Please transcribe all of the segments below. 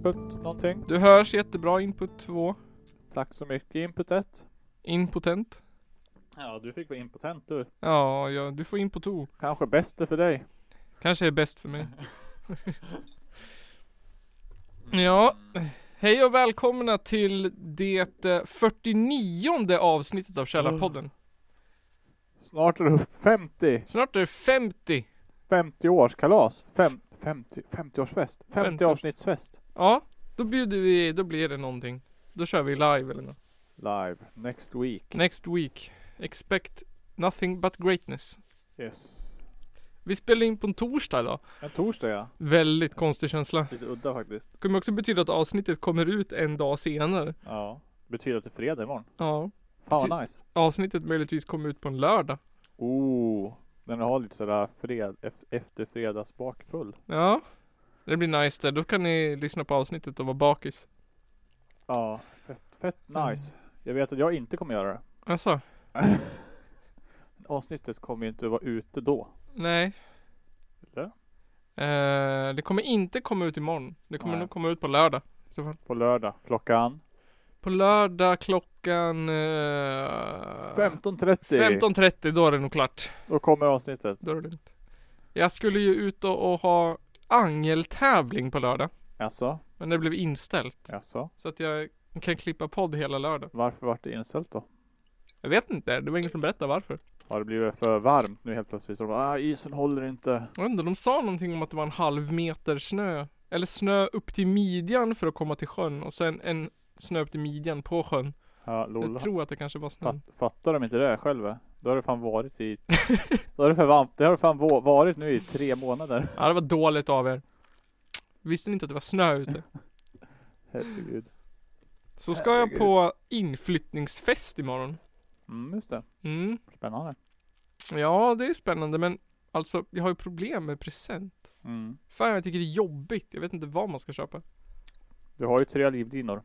Input någonting. Du hörs jättebra, input 2. Tack så mycket input 1. Impotent. Ja, du fick vara impotent du. Ja, ja du får input 2. Kanske bäste för dig. Kanske är bäst för mig. ja, hej och välkomna till det eh, 49 avsnittet av Källarpodden. Snart är du 50. Snart är det 50. 50-årskalas. Fem, 50, 50-årsfest. 50 50-avsnittsfest. Ja, då bjuder vi, då blir det någonting. Då kör vi live eller något. Live. Next week. Next week. Expect nothing but greatness. Yes. Vi spelar in på en torsdag idag. En torsdag ja. Väldigt konstig känsla. Lite udda faktiskt. Det kommer också betyda att avsnittet kommer ut en dag senare. Ja. Betyder att det är fredag imorgon. Ja. Fan Ty- vad nice. Avsnittet möjligtvis kommer ut på en lördag. Oh. Den har lite sådär fred, ef- efter fredags bakfull. Ja. Det blir nice där. Då kan ni lyssna på avsnittet och vara bakis. Ja. Fett, fett nice. Jag vet att jag inte kommer göra det. Alltså, Avsnittet kommer ju inte vara ute då. nej. Eller? Eh, det kommer inte komma ut imorgon. Det kommer Nej. nog komma ut på lördag. i så fall. På lördag klockan På lördag klockan... Eh, 15.30. 15.30, då är det nog klart. Då kommer avsnittet. Då är det lugnt. Jag skulle ju ut och, och ha angeltävling på lördag. Alltså, Men det blev inställt. alltså. Så att jag kan klippa podd hela lördagen. Varför vart det inställt då? Jag vet inte, det var ingen som berättade varför. Har det blivit för varmt nu helt plötsligt? Så de bara, ah, isen håller inte. Jag vet inte, de sa någonting om att det var en halv meter snö. Eller snö upp till midjan för att komma till sjön och sen en snö upp till midjan på sjön. Ja, lol. Jag tror att det kanske var snö. Fatt, fattar de inte det själva? Då har det fan varit i... då har det, för varmt. det har det fan vå- varit nu i tre månader. Ja, det var dåligt av er. Visste ni inte att det var snö ute? Herregud. Så ska jag på inflyttningsfest imorgon. Mm, just det. Mm. Spännande. Ja, det är spännande men alltså, jag har ju problem med present. Mm. Fan, jag tycker det är jobbigt. Jag vet inte vad man ska köpa. Du har ju tre livlinor.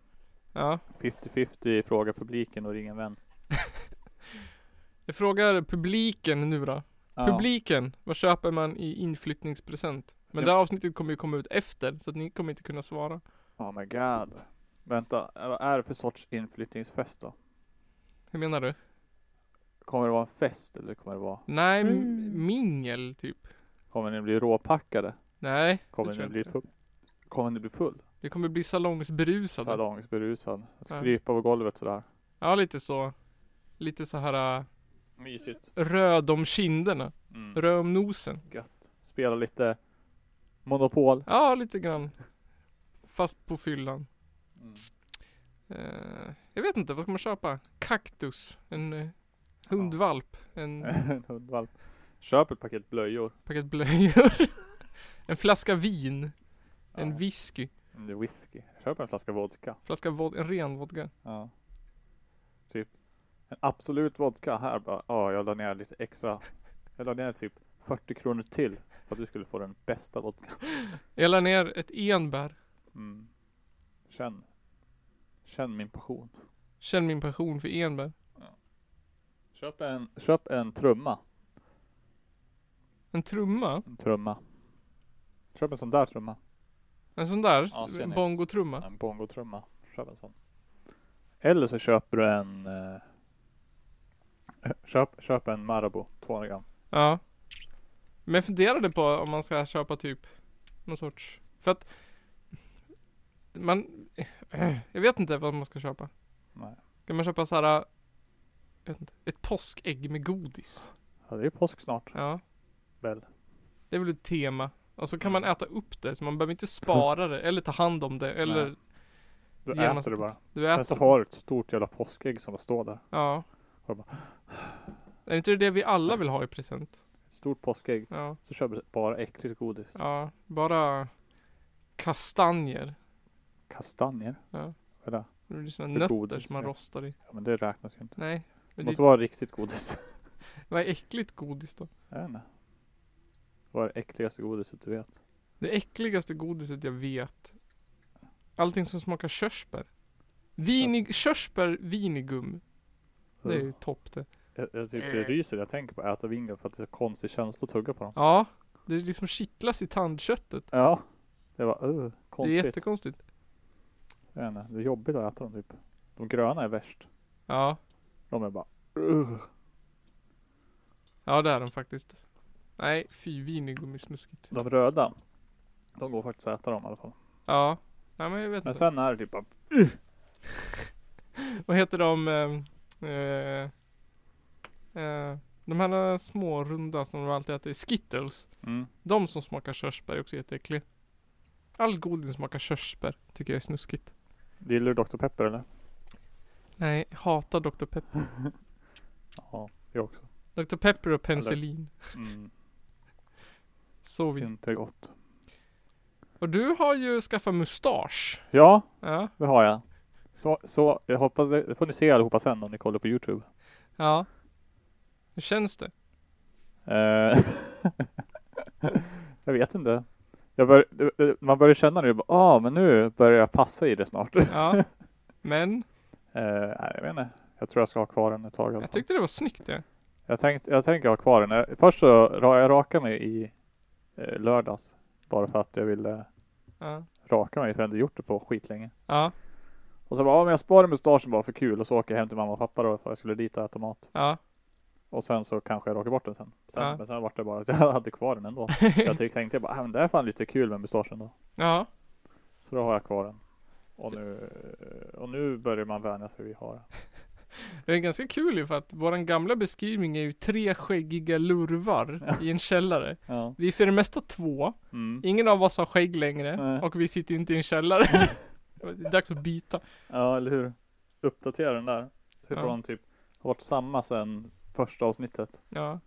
Ja. 50-50 fråga publiken och ring en vän. Jag frågar publiken nu då. Ja. Publiken, vad köper man i inflyttningspresent? Men det här avsnittet kommer ju komma ut efter, så att ni kommer inte kunna svara. Oh my god. Vänta, vad är det för sorts inflyttningsfest då? Hur menar du? Kommer det vara en fest eller kommer det vara? Nej, m- Mm. mingel typ. Kommer ni bli råpackade? Nej, Kommer det tror ni jag bli inte. full? Kommer ni bli full? Vi kommer bli salongsberusade. Salongsberusad. Att Ja. krypa på golvet sådär. Ja, lite så. Lite så här äh, Mysigt. röd om kinderna, Mm. röd om nosen. Gött. Spela lite Monopol. Ja, lite grann. Fast på fyllan. Eh, jag vet inte, vad ska man köpa? Kaktus, en eh, hundvalp, en En hundvalp. Köp ett paket blöjor. paket blöjor, en flaska vin, en Ja. whisky, Mm, Det är whisky. Köp en flaska vodka. flaska vod- en ren vodka. Ja. Typ. En absolut vodka här bara. Ja, jag la ner lite extra. Jag la ner typ 40 kronor till. För att du skulle få den bästa vodkan. Jag la ner ett enbär. Mm. Känn. Känn min passion. Känn min passion för enbär. Köp en, köp en trumma. En trumma, En trumma. Köp en sån där trumma. en sån där Ja, ser ni. bongotrumma. En bongotrumma. Köp en sån. Eller så köper du en eh, köp, köp en Marabou 200 gram. Ja. Men jag funderade på om man ska köpa typ någon sorts, för att man, jag vet inte vad man ska köpa. Nej. Ska man köpa så här, jag vet inte, ett påskägg med godis? Ja, det är påsk snart Ja. väl. Det är väl ett tema. Och så kan Mm. man äta upp det, så man behöver inte spara det eller ta hand om det eller Nej. Du Genast- äter det bara. du äter Sen så det. har du ett stort jävla påskägg som bara står där. Ja. Har bara- Är inte det det vi alla vill ha i present? Ett stort påskägg. Ja. Så köper du bara äckligt godis. Ja. Bara kastanjer. Kastanjer. Ja. Vad är det? Det blir såna För nötter godis, som man ja. rostar i. Ja men det räknas ju inte. Nej. Det Men det, måste vara riktigt godis. vad är äckligt godis då? Jag vet inte. Vad är det äckligaste godiset du vet? Det äckligaste godiset jag vet. Allting som smakar körsbär. Vinig, körsbär vinigum. Det är ju topp det. Jag, jag typ det ryser när jag tänker på att äta vingummi för att det är så konstig känsla att tugga på dem. Ja, det liksom kittlas i tandköttet. Ja. Det var uh, Det är konstigt. jättekonstigt. Jag vet inte, Det är jobbigt att äta dem typ. De gröna är värst. Ja, De är bara uh. ja det är de faktiskt. Nej, fy vinigum är snuskigt. De röda. De går faktiskt att äta dem i alla fall. Ja, nej men jag vet Men inte. sen är det typ bara Vad heter de? Eh, eh, eh, de här små runda som de alltid äter, skittles. mm. De som smakar körsbär är också jätteäcklig. All godis smakar körsbär tycker jag är snuskigt. Gillar du Dr Pepper eller? Nej, jag hatar Dr Pepper. Ja, jag också. Dr Pepper och penicillin. Mm. Så vi. Inte gott. Och du har ju skaffat mustasch. Ja, Ja, det har jag. Så, så jag hoppas det, det får ni se allihopa sen om ni kollar på Youtube. ja. Hur känns det? Eh, jag vet inte. Jag bör, det- det- man börjar känna nu, bara, ah men nu börjar jag passa i det snart. Eh, Ja. Men, nej, jag vet inte. Jag tror jag ska ha kvar den ett tag i alla jag fall. tyckte det var snyggt det. Jag, tänkt, jag tänker ha kvar den. Jag, först så ra, jag rakade mig i eh, lördags. Bara för att jag ville Ja. raka mig för jag hade inte gjort det på skitlänge. Ja. Och så bara, ah, men jag sparar mustaschen bara för kul och så åker jag hem till mamma och pappa då för jag skulle dit och äta mat. Ja. Och sen så kanske jag rakar bort den sen. sen Ja. Men sen vart det bara att jag hade kvar den ändå. jag tyck, tänkte jag bara, ah, men det är fan lite kul med mustaschen då. Ja. Så då har jag kvar den. Och nu, och nu börjar man vänja sig vid att ha den. Det är ganska kul ju för att våran gamla beskrivning är ju tre skäggiga lurvar i en källare. Ja. Vi är för det mesta två. Mm. Ingen av oss har skägg längre Nej. och vi sitter inte i en källare. det är dags att byta. ja, eller hur? Uppdatera den där. Typ Ja. från typ, har varit samma sedan första avsnittet. Ja.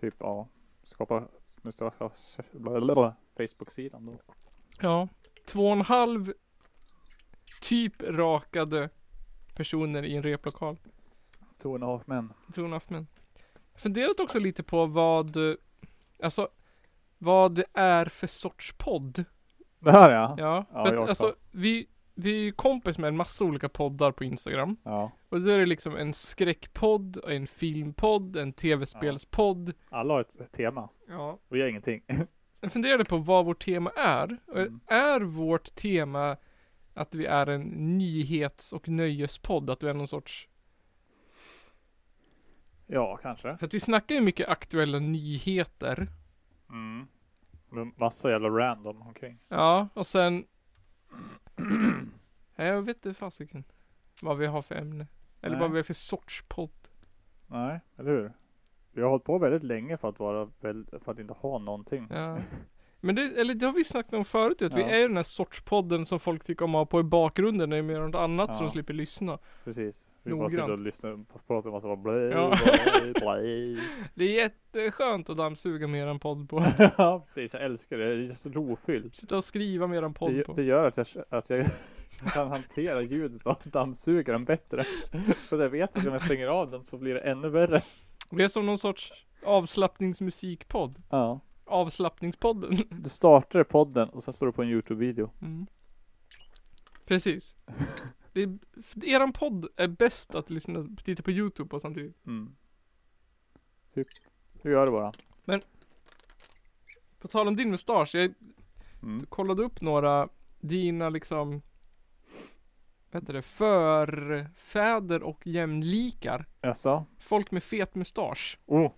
Typ, ja. Skapa, nu ska jag skapa Facebook-sidan då. Ja. Två och en halv typ rakade personer i en replokal. Two and a half men. Two and a half men. Funderat också lite på vad, eh, alltså, vad det är för sorts podd. Det här ja. Ja, Ja, för jag att, också. alltså vi, vi är ju kompis med en massa olika poddar på Instagram. ja. Och då är det liksom en skräckpodd, en filmpodd, en tv-spelspodd. Alla har ett ett tema. Ja. Och jag har ingenting. Jag funderade på vad vårt tema är. Och Mm. Är vårt tema att vi är en nyhets och nöjespodd? Att vi är någon sorts... Ja, kanske. För att vi snackar ju mycket aktuella nyheter. Mm. Men massa jävla random omkring. Ja, och sen... Nej, jag vet inte fasiken. Vad vi har för ämne. Eller Nej. vad vi har för sorts podd. Nej, eller hur? Vi har hållit på väldigt länge för att vara, väl, för att inte ha någonting. Ja. Men det, eller det har vi snackat om förut, att vi Ja. är ju den här sorts podden som folk tycker om att ha på i bakgrunden när de gör något annat så Ja. de slipper lyssna. Precis. Vi bara Noggrant. sitter och lyssnar på pratar en massa bara blej, Ja. blej, blej. Det är jätteskönt att dammsuga med en podd på. ja, precis. Jag älskar det. Det är så rofyllt. Sitta och skriva med en Det, podd gö- på. det gör att jag, att jag kan hantera ljudet av dammsugaren bättre. För jag vet att om jag stänger av den så blir det ännu värre. Det är som någon sorts avslappningsmusikpodd. Ja. Avslappningspodden. Du startar podden och sen står du på en Youtube-video. Mm. Precis. Det är, för eran podd är bäst att lyssna, titta på Youtube på samtidigt. Mm. Typ. Du gör det bara. På tal om din mustasch, jag Mm. kollade upp några dina liksom vad heter det, förfäder och jämlikar. Jaså? Folk med fet mustasch. Oh,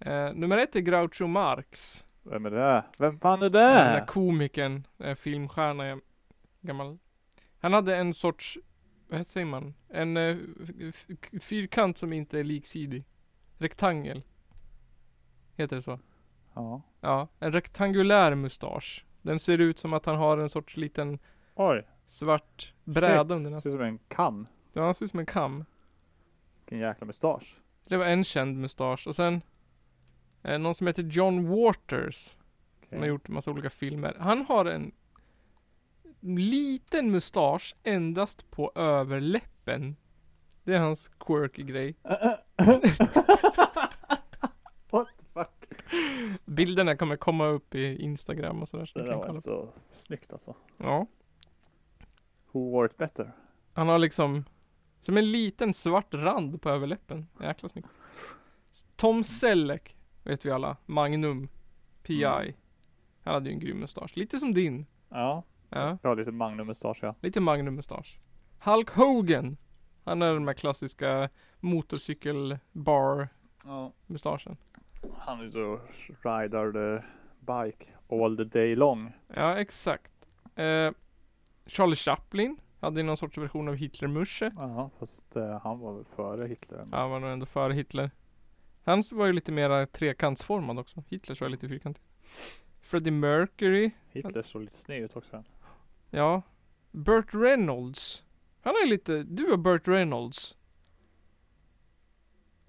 Eh, nummer ett är Groucho Marx. vem är det? Vem fan är Den där det? komikern, eh, filmstjärna, jag- gammal. Han hade en sorts, vad heter- säger man? En eh, f- f- fyrkant som inte är liksidig. Rektangel. Heter det så? Ja. Ja, en rektangulär mustasch. Den ser ut som att han har en sorts liten Oj, svart bräda Shit. under det näsan. ser ut som en kam. Ja, han ser ut som en kam. Vilken jäkla mustasch. Det var en känd mustasch. Och sen eh, någon som heter John Waters. Okej. Som har gjort en massa olika filmer. Han har en liten mustasch endast på överläppen. Det är hans quirky grej. What the fuck? Bilderna kommer komma upp i Instagram och sådär. Så Det ni där kan var kolla. inte så snyggt alltså. Ja. Who wore it better? Han har liksom Som en liten svart rand på överläppen. Jäkla snyggt. Tom Selleck vet vi alla. Magnum. PI. Mm. Han hade ju en grym mustasch. Lite som din. Ja, Ja. jag har lite Magnum-mustasch ja. Lite Magnum-mustasch. Hulk Hogan. Han är den här klassiska motorcykel-bar-mustaschen. ja. Han är ute och rider the bike all the day long. Ja, exakt. Eh, Charlie Chaplin hade ju någon sorts version av Hitler-musche. Ja, fast eh, han var väl före Hitler. Ja. Han var nog ändå före Hitler. Hans var ju lite mer trekantsformad också. Hitlers var lite fyrkantig. Freddie Mercury. Hitler såg lite sned ut också. Ja. Burt Reynolds. Han är lite, du och Burt Reynolds.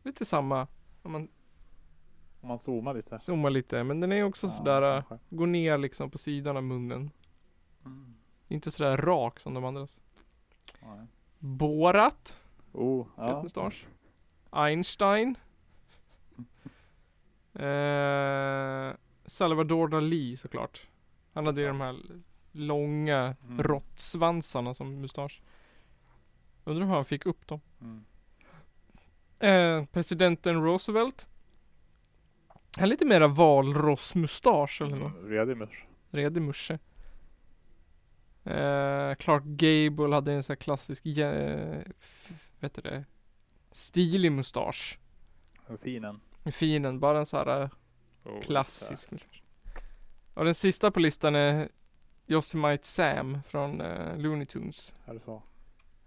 Lite samma. Om man Om man zoomar lite. zoomar lite. Men den är ju också Ja, sådär, eh, kanske. går ner liksom på sidan av munnen. Mm. Inte sådär rak som de andras. Nej. Borat. Oh, Fet ja. mustasch. Einstein. Eh, Salvador Dalí såklart. Han hade ju de här långa Mm. råttsvansarna som mustasch. Undrar hur han fick upp dem. Mm. Eh, presidenten Roosevelt. Han är lite mera valrossmustasch eller något. Mm, Redig musch. Redig musche. Eh, Clark Gable hade en sån här klassisk, eh, f- vet du det? Stilig mustasch. En Fin en. Finen, bara en sån här eh, Oh, klassisk mustasch. Och den sista på listan är Yosemite Sam från eh, Looney Tunes. Är det så?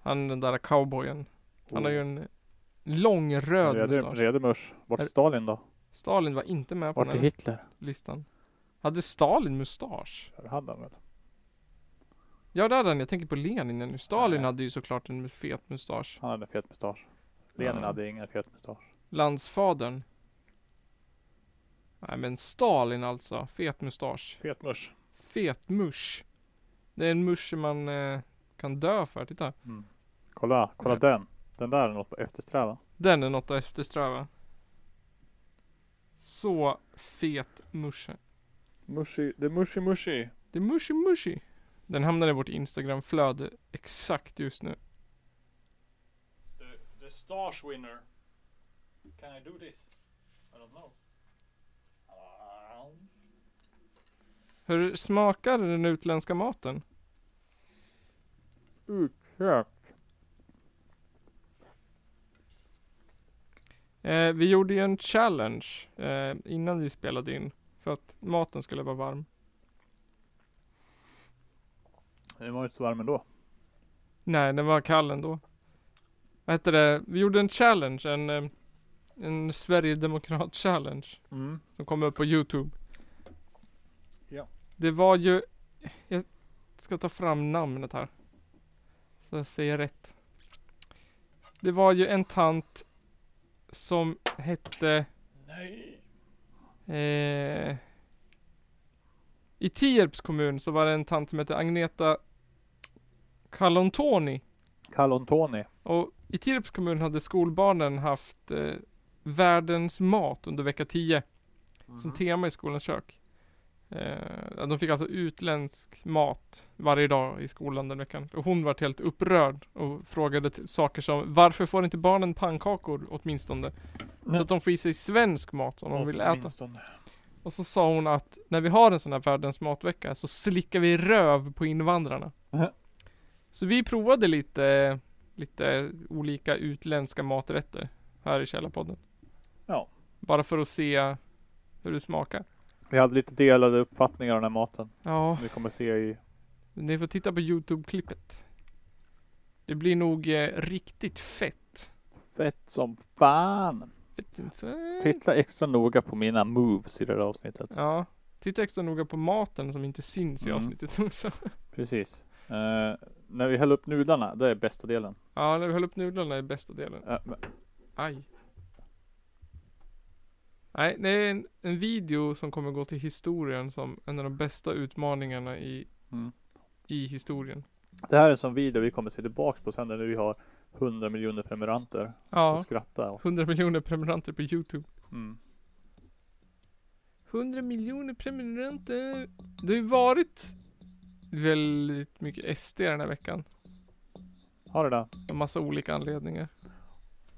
Han den där cowboyen. Han Oh. har ju en lång En röd Redig, mustasch. redig musch. Vart Är- är Stalin då? Stalin var inte med på Vart är den här Hitler? listan. Hade Stalin mustasch? Där hade han väl? Ja det hade han, jag tänker på Lenin nu. Stalin Nej. hade ju såklart en fet mustasch. Han hade en fet mustasch. Lenin Ja. hade ingen fet mustasch. Landsfadern. Nej men Stalin alltså. Fet mustasch. Fet musch. Fet musch. Det är en musch man eh, kan dö för. Titta. Mm. Kolla, kolla Ja. den. Den där är något att eftersträva. Den är något att eftersträva. Så fet musche. Mushi, det är mushi mushi. Det är mushi mushi. Den hamnar i vårt Instagram-flöde exakt just nu. The, the stars winner. Can I do this? I don't know. Hur smakar den utländska maten? Utkök. Eh, vi gjorde ju en challenge eh, innan vi spelade in. För att maten skulle vara varm. Det var inte så varm ändå. Nej, den var kall ändå. Vad hette det? Vi gjorde en challenge, en, eh, en Sverigedemokrat-challenge. Mm. Som kom upp på Youtube. Ja. Det var ju... Jag ska ta fram namnet här. Så jag säger rätt. Det var ju en tant som hette... Nej. Eh, I Tierps kommun så var det en tant som hette Agneta Kalontoni. Kallontoni. Och i Tierps kommun hade skolbarnen haft eh, världens mat under vecka 10 Mm. Mhm. som tema i skolans kök. Eh, de fick alltså utländsk mat varje dag i skolan den veckan. Och hon var helt upprörd och frågade till saker som Varför får inte barnen pannkakor åtminstone? Nej. Så att de får i sig svensk mat som de vill äta. Och så sa hon att när vi har en sån här världens matvecka så slickar vi röv på invandrarna. Mhm. Så vi provade lite, lite olika utländska maträtter här i Källarpodden. Ja. Bara för att se hur det smakar. Vi hade lite delade uppfattningar om den här maten. Ja, Vi kommer se i... ni får titta på Youtube-klippet. Det blir nog eh, riktigt fett. Fett som fan. Fett som fan. Titta extra noga på mina moves i det här avsnittet. Ja. Titta extra noga på maten som inte syns i Mm. avsnittet också. Precis. Eh, när vi häller upp nudlarna, det är bästa delen. Ja, när vi höll upp nudlarna i bästa delen. Eh, men- Aj. Nej, det är en, en video som kommer gå till historien som en av de bästa utmaningarna i, mm. i historien. Det här är en sån video vi kommer se tillbaks på sen när vi har 100 miljoner prenumeranter och Ja, skratta. Och, 100 miljoner prenumeranter på Youtube. mm. 100 miljoner prenumeranter. Det har ju varit väldigt mycket SD den här veckan. Ha det där. Av massa olika anledningar.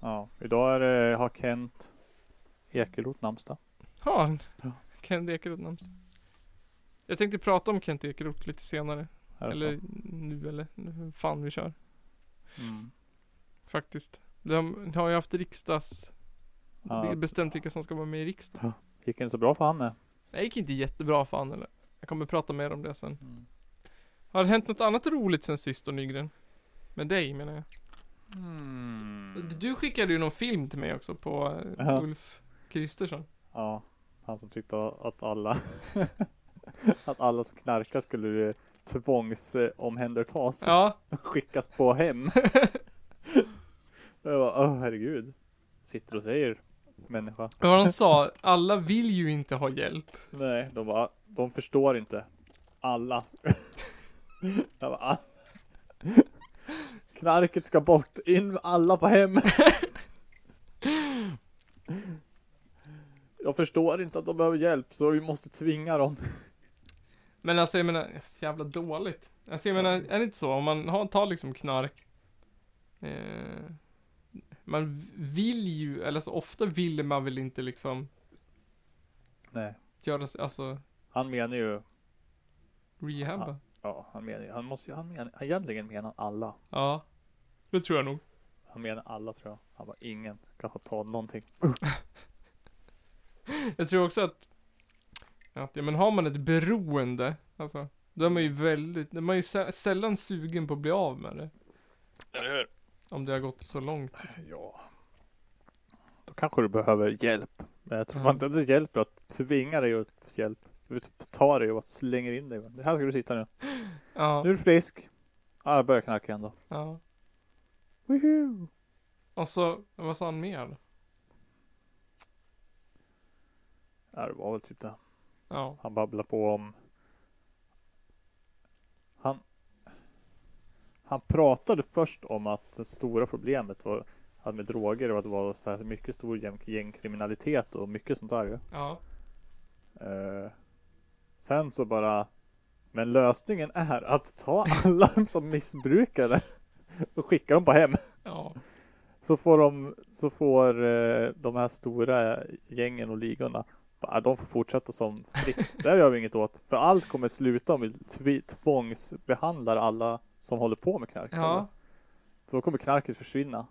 Ja, idag är det, har Kent Ekeroth namnsdag. Har han? Ja. Kent Ekeroth namn. Jag tänkte prata om Kent Ekeroth lite senare. Är det så? Eller nu eller hur fan vi kör. Mm. Faktiskt. De har ju haft riksdags... Ja. Bestämt vilka som ska vara med i riksdagen. Gick inte så bra för han nej. Det gick inte jättebra för han eller. Jag kommer prata mer om det sen. Mm. Har det hänt något annat roligt sen sist då Nygren? Med dig menar jag. Mm. Du skickade ju någon film till mig också på eh, Ja. Ulf Kristersson. Ja, han som tyckte att alla att alla som knarkar skulle tvångsomhändertas Ja, och skickas på hem. Jag bara, åh herregud. Sitter och säger människa. och vad han sa, alla vill ju inte ha hjälp. Nej, de bara, de förstår inte. Alla. Jag bara, "Ah." Knarket ska bort, in med alla på hem. Jag förstår inte att de behöver hjälp så vi måste tvinga dem. Men alltså jag menar, så jävla dåligt. Alltså jag menar, är det inte så? Om man har, tar liksom knark. Eh, man vill ju, eller så ofta vill man väl inte liksom Nej. göra, sig- alltså Han menar ju, rehabba. ja han menar ju, han måste ju, han menar, han egentligen menar alla. Ja, det tror jag nog. Han menar alla tror jag. Han bara, ingen ska få ta någonting. Jag tror också att, att ja, men har man ett beroende, alltså, då är man ju väldigt, då är man ju sä- sällan sugen på att bli av med det. Eller hur? Om det har gått så långt. Ja. Då kanske du behöver hjälp. Men jag tror Ja. fan inte att det hjälper att tvinga dig åt hjälp. Du typ tar dig och slänger in dig. Det här ska du sitta nu. Ja, Nu är du frisk. Ja, jag börjar knarka igen då. ja. Woohoo! Och så, vad sa han mer? Ja, det var väl typ det. Ja, Han babblar på om... Han... Han pratade först om att det stora problemet var att med droger och att det var så här mycket stor gäng- gängkriminalitet och mycket sånt där ju. ja, Eh, sen så bara Men lösningen är att ta alla som missbrukar det och skicka dem på hem. ja, Så får de så får eh, de här stora gängen och ligorna bara, de får fortsätta som fritt. Där gör vi inget åt. För allt kommer sluta om vi tvi- tvångsbehandlar alla som håller på med knark. ja. För då kommer knarket försvinna.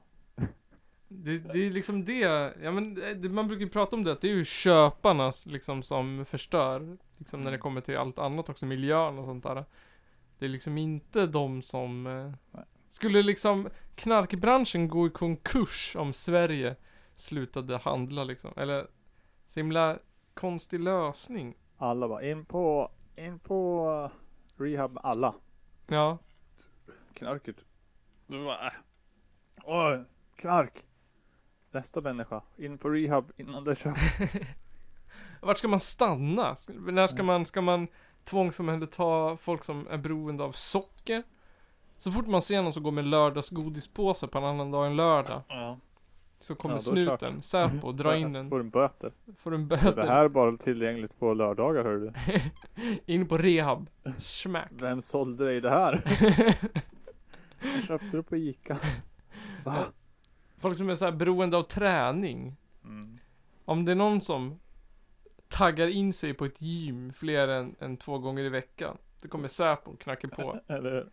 Det, det är liksom det, ja men eh, det, man brukar ju prata om det, att det är ju köparnas liksom som förstör. Liksom när det kommer till allt annat också, miljön och sånt där. Det är liksom inte de som... Eh, Nej. skulle liksom knarkbranschen gå i konkurs om Sverige slutade handla liksom? Eller, så himla konstig lösning. Alla bara in på, in på rehab med alla. Ja, knarket. Du bara, äh. Åh, knark. Nästa människa. In på rehab innan det köps. vart ska man stanna? Ska- När ska man, ska man tvångsomhänderta folk som är beroende av socker? Så fort man ser någon som går med lördagsgodispåse på en annan dag än lördag Ja. Så kommer Ja, då är det snuten, Säpo, dra in den, Får en böter. får en Så Det böter, här är bara tillgängligt på lördagar hör du. in på rehab, smack Vem sålde dig det här? Jag köpte det på Ica. Va? Folk som är så här beroende av träning Mm. Om det är någon som taggar in sig på ett gym fler än, än två gånger i veckan Då kommer Säpo och knackar på Eller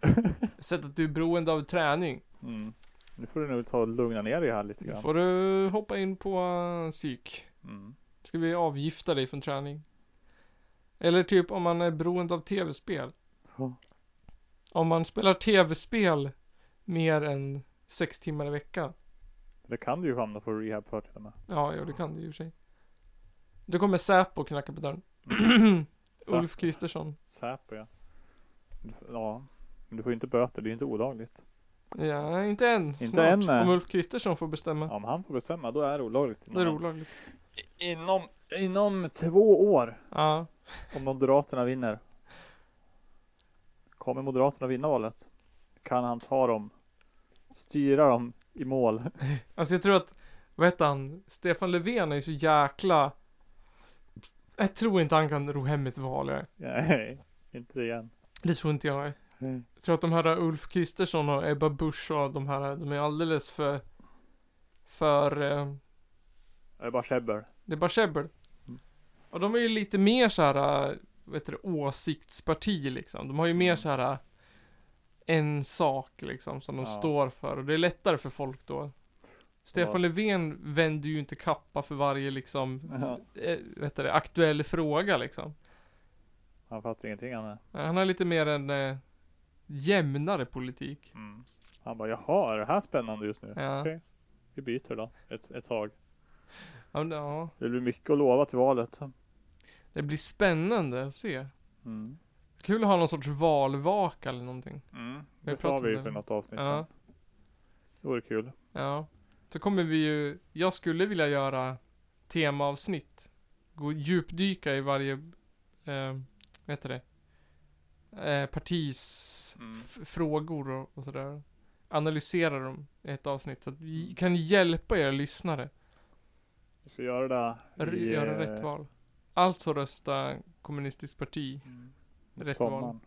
Sätt att du är beroende av träning mm. Nu får du nog ta och lugna ner dig här lite Då grann. får du hoppa in på eh, psyk Mm. Ska vi avgifta dig från träning? Eller typ om man är beroende av tv-spel. Ja. Om man spelar tv-spel mer än sex timmar i veckan. Det kan du ju hamna på rehab för till och med. Ja, ja det kan du i och för sig. Då kommer Säpo och knacka på dörren. Ulf Säpo. Kristersson. Säpo ja. Ja. Men du får ju inte böter, det är ju inte olagligt. Ja, inte än. Inte än, nej. Om Ulf Kristersson får bestämma. Om han får bestämma, då är det olagligt. Det är olagligt. Inom, inom två år Ja. om Moderaterna vinner. Kommer Moderaterna vinna valet? Kan han ta dem? Styra dem i mål? Alltså jag tror att, vad heter han? Stefan Löfven är ju så jäkla... Jag tror inte han kan ro hem ett val. jag. Nej, inte det igen. Det tror inte jag. Mm. Jag tror att de här Ulf Kristersson och Ebba Busch och de här, de är alldeles för, för, eh, Det är bara käbbel. det är bara käbbel. Mm. Och de är ju lite mer så här, eh, vad heter det, åsiktsparti liksom. De har ju mer Mm. så här eh, en sak liksom som de Ja. står för och det är lättare för folk då. Stefan Ja. Löfven vänder ju inte kappa för varje liksom, Ja. eh, vad heter det, aktuell fråga liksom. Han fattar ingenting han är. Nej, Han har lite mer en eh, jämnare politik. Mm. Han bara jaha, är det här spännande just nu? Ja. Okej. Vi byter då ett, ett tag. Ja, men, ja. Det blir mycket att lova till valet. Det blir spännande att se. Mm. Kul att ha någon sorts valvaka eller någonting. Mm. Vi Det pratar sa vi om ju det. för något avsnitt Ja, sen. Det vore kul. ja. Så kommer vi ju, jag skulle vilja göra temaavsnitt. Gå djupdyka i varje, eh, vad heter det? Eh, partis Mm. f- frågor och, och sådär. Analysera dem i ett avsnitt så att Mm. vi kan hjälpa era lyssnare. Vi får göra det där R- i, Göra eh, rätt val. Alltså rösta kommunistiskt parti. mm, Rätt val. sommaren.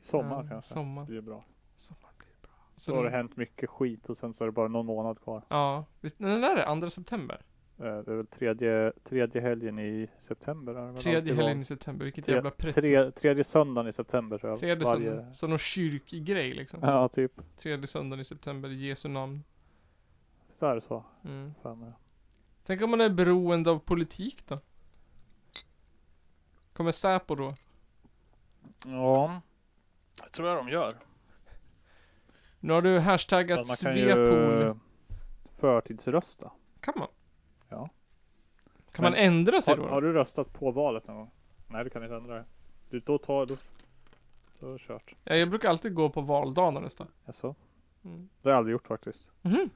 I sommar Ja, kanske. Sommar. Det blir bra. Sommar blir bra. Så Då har det den- hänt mycket skit och sen så är det bara någon månad kvar. Ja, visst, när är det? Andra september? Eh, Det är väl tredje, tredje helgen i september? Är det väl Tredje alltid val? helgen i september, vilket Tre- jävla pretto. Tre, tredje söndagen i september tror jag. Tredje Varje- söndagen, som någon kyrkgrej liksom. Ja, typ. Tredje söndagen i september, i Jesu namn. Så är det så. Mm. Fan, ja. Tänk om man är beroende av politik då? Kommer Säpo då? Ja. Det tror jag de gör. Nu har du Man hashtaggat kan Svepol. ju förtidsrösta. Kan man? Ja. Kan Men- man ändra sig Har, då? har du röstat på valet någon gång? Nej, du kan inte ändra det. Du, då tar du... Då är det kört. Ja, jag brukar alltid gå på valdagen och rösta. Jaså? Mm. Det har jag aldrig gjort faktiskt. Mhm.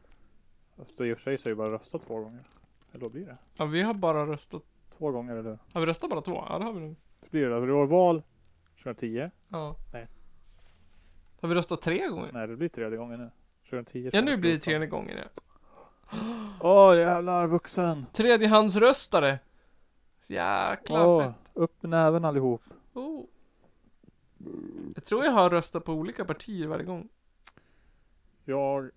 Så i och för sig så är det bara röstat två gånger. Eller då blir det? Ja, vi har bara röstat. Två gånger eller? Har vi röstat bara två? Ja, det har vi nog. Så blir det. För det var val 2010. Ja. Nej. Har vi röstat tre gånger? Nej, det blir tredje gången nu. 2010. Ja, nu blir det 2014. tredje gången ja. Åh jävlar vuxen. Tredjehandsröstare. Jäklar Åh, fett. upp med näven allihop. Oh. Jag tror jag har röstat på olika partier varje gång. Jag...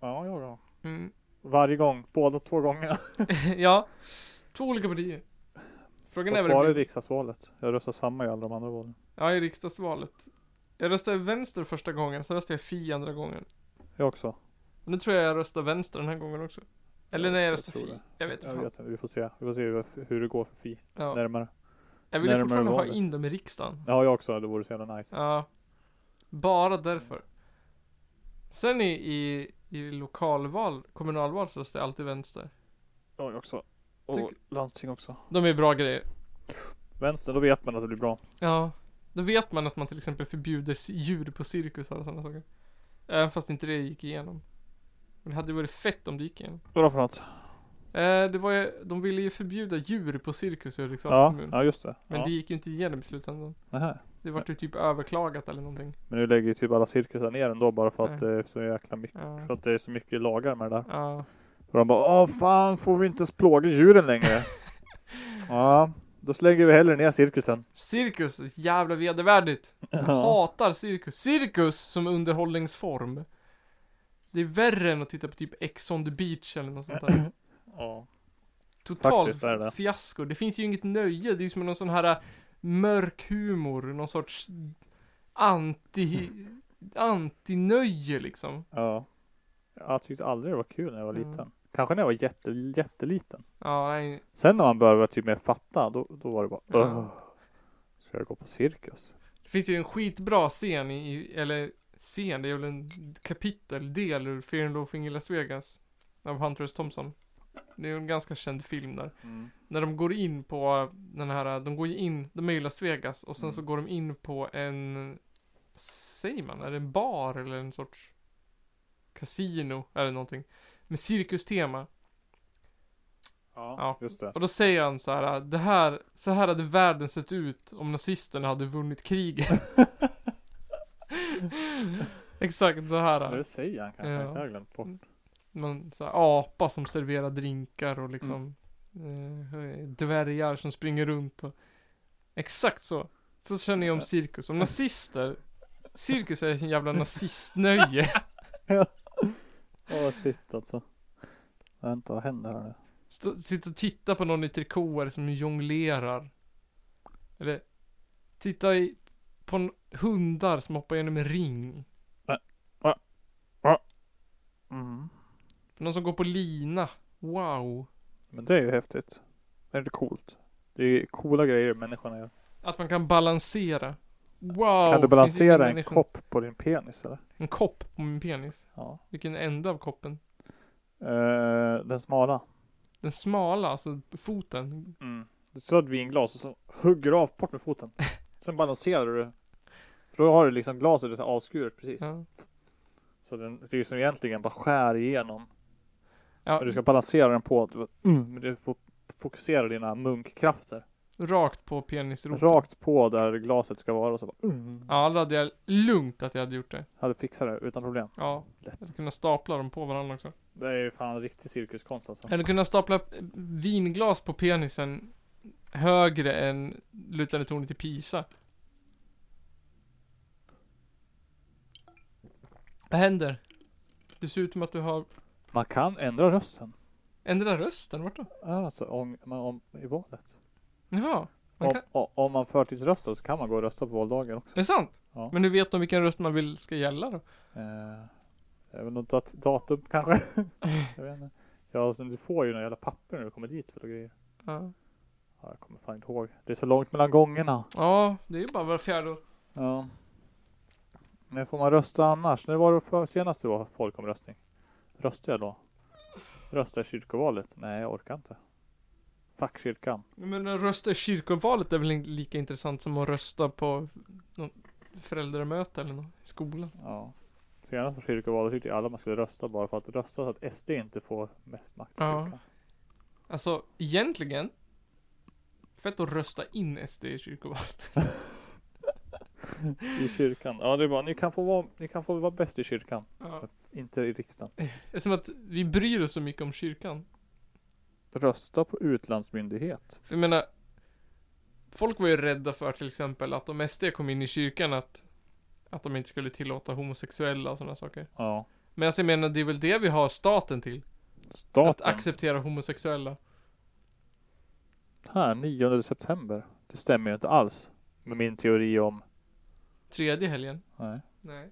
Ja, jag då. Mm. Varje gång. Båda två gånger. ja. Två olika partier. Frågan är Fast vad det bara i blir. riksdagsvalet. Jag röstar samma i alla de andra valen. Ja, i riksdagsvalet. Jag röstade vänster första gången, sen röstade jag Fi andra gången. Jag också. Och nu tror jag jag röstar vänster den här gången också. Eller Ja, när jag jag röstar tror Fi. det. Jag vet Jag fan. vet inte. Vi får se. Vi får se hur, hur det går för Fi. Ja. Närmare. Jag ville närmare fortfarande ha valet. in dem i riksdagen. Ja, jag också. Det vore så jävla nice. Ja. Bara därför. Sen i, i, i lokalval, kommunalval så röstar jag alltid vänster. Jag också. Och Tycker- landsting också. De är bra grejer. Vänstern, då vet man att det blir bra. Ja. Då vet man att man till exempel förbjuder ci- djur på cirkusar och sådana saker. Även fast inte det gick igenom. Men det hade ju varit fett om det gick igenom. Vadå för något? Eh, det var ju, de ville ju förbjuda djur på cirkus i Ulriksdals Ja, kommun. ja, just det. Men ja. det gick ju inte igenom i slutändan. Nähä. Det vart ju typ överklagat eller någonting. Men nu lägger ju typ alla cirkusar ner ändå bara för att Nej. det är så jäkla mycket. Ja. För att det är så mycket lagar med det där. ja. Och de bara Åh fan får vi inte ens plåga djuren längre? ja, då slänger vi hellre ner cirkusen. Cirkus, är så jävla vedervärdigt. Jag hatar cirkus. Cirkus som underhållningsform. Det är värre än att titta på typ Ex on the beach eller något sånt där. Ja. Totalt Faktiskt är det. fiasko. Det finns ju inget nöje. Det är som någon sån här äh, mörk humor. Någon sorts anti... Antinöje liksom. ja. Jag tyckte aldrig det var kul när jag var Mm. liten. Kanske när jag var jätte, jätteliten. Ja, nej. Sen när man började typ mer fatta, då, då var det bara Ja. "Åh, Ska jag gå på cirkus? Det finns ju en skitbra scen i- i, eller scen, det är väl en kapitel, del ur Fear and Loathing i Las Vegas. Av Hunter S. Thompson. Det är ju en ganska känd film där. Mm. När de går in på den här, de går ju in, de är i Las Vegas och sen Mm. så går de in på en, vad säger man, är det en bar eller en sorts kasino eller någonting. Med cirkustema. Ja, Ja. just det. Och då säger han så här, det här, så här hade världen sett ut om nazisterna hade vunnit kriget. Exakt så Ja, här. det säger han kanske. Ja. Jag har glömt bort. Man, så här apa som serverar drinkar och liksom eh, dvärgar som springer runt och Exakt så. Så känner jag om cirkus. Om nazister. Cirkus är en jävla nazistnöje. Åh shit alltså. Vänta, vad händer här nu? Stå- Sitta och titta på någon i trikåer som jonglerar. Eller titta i, på en hundar som hoppar genom en ring. Mm. Någon som går på lina. Wow. Men det är ju häftigt. Det är lite coolt. Det är ju coola grejer människan gör. Att man kan balansera. kan du Wow. finns ingen balansera en människa- kopp på din penis eller? En kopp på min penis. Ja. Vilken ände av koppen? Eh, den smala. Den smala, alltså foten. Mm. Du tar ett vinglas och så hugger du av bort med foten. Sen balanserar du. För då har du liksom glaset så här avskuret precis. Ja. Så den, det är ju som egentligen bara skär igenom. Ja, Men du ska balansera den på att du, mm, men du får fokusera dina munkkrafter. rakt på penisroten. Rakt på där glaset ska vara och så bara, mm. Ja, då hade jag lugnt att jag hade gjort det. Hade fixat det utan problem. Ja. Lätt. Jag hade kunnat stapla dem på varandra också. Det är ju fan riktig cirkuskonst alltså. Jag hade kunnat stapla eh, vinglas på penisen högre än lutande tornet i Pisa. Vad händer? Det ser ut som att du har Man kan ändra rösten. ändrat rösten. Vart då? Alltså om, om, om, i valet. Jaha. Man Om, kan... o- om man förtidsröstar så kan man gå och rösta på valdagen också. Är det sant? Ja. Men du vet om vilken röst man vill ska gälla då? Eh, även något dat- datum kanske. jag vet inte. Ja, men du får ju några jävla papper när du kommer dit för och grejer. Ja. Ja, jag kommer fan inte ihåg. Det är så långt mellan gångerna. Ja, det är ju bara var fjärde år. Ja. När får man rösta annars? När var det för senast det var folkomröstning? Röstade jag då? Röstade jag i kyrkovalet? Nej, jag orkar inte. Fuck kyrkan. Men att rösta i kyrkovalet är väl inte lika intressant som att rösta på något föräldramöte eller något i skolan? Ja. Senast på kyrkovalet tyckte ju alla man skulle rösta bara för att rösta så att SD inte får mest makt i Ja. kyrkan. Alltså, egentligen. Fett att rösta in SD i kyrkovalet. I kyrkan. Ja, det är bara, ni kan få vara, ni kan få vara bäst i kyrkan. Ja. Inte i riksdagen. Det är som att vi bryr oss så mycket om kyrkan. Rösta på utlandsmyndighet. För jag menar, folk var ju rädda för till exempel att om SD kom in i kyrkan att, att de inte skulle tillåta homosexuella och sådana saker. Ja. Men alltså, jag menar, det är väl det vi har staten till? Att Staten. acceptera homosexuella. Här, 9 september. Det stämmer ju inte alls. Med min teori om. Tredje helgen? Nej. Nej.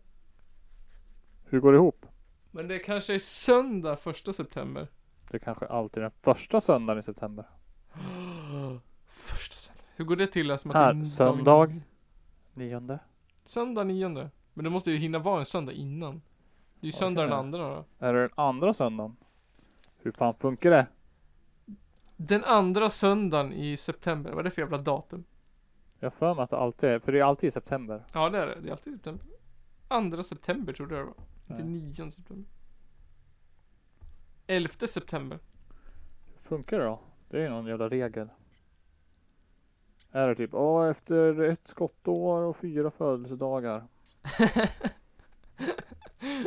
Hur går det ihop? Men det kanske är söndag första september. Det kanske alltid är den första söndagen i september. Första söndag. Hur går det till? alltså, Som att Här, det är en söndag. dag- Nionde. Söndag nionde. Men det måste ju hinna vara en söndag innan. Det är ju Ja, söndag det den är det. andra då. Är det den andra söndagen? Hur fan funkar det? Den andra söndagen i september. Vad är det för jävla datum? Jag har för mig att det alltid är, för det är alltid i september. Ja det är det. Det är alltid september. Andra september trodde jag det var. Inte Nej. nionde september. Elfte september. Hur funkar det då? Det är ju någon jävla regel. Är det typ, ja efter ett skottår och fyra födelsedagar.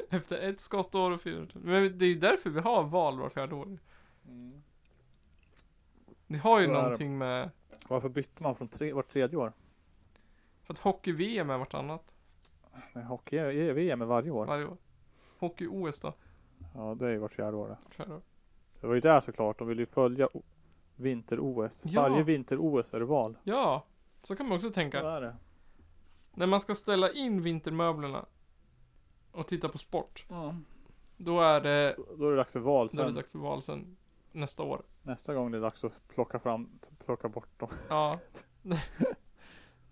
Efter ett skottår och fyra. Men det är ju därför vi har val var fjärde år. Mm. Det har ju Så är det. någonting med Varför bytte man från tre, vart tredje år? För att hockey-VM är vartannat Nej, hockey är är VM är varje år. varje år. Hockey-OS då? Ja, det är ju vart fjärde år. det. tror jag då. Det var ju där såklart, de ville ju följa o- vinter-OS. Ja. Varje vinter-OS är det val. Ja, så kan man också Så tänka. är det. När man ska ställa in vintermöblerna och titta på sport, då är det, Då är det dags för val då är det sen. dags för val sen nästa år. Nästa gång det är dags att plocka fram, plocka bort dem. Ja, det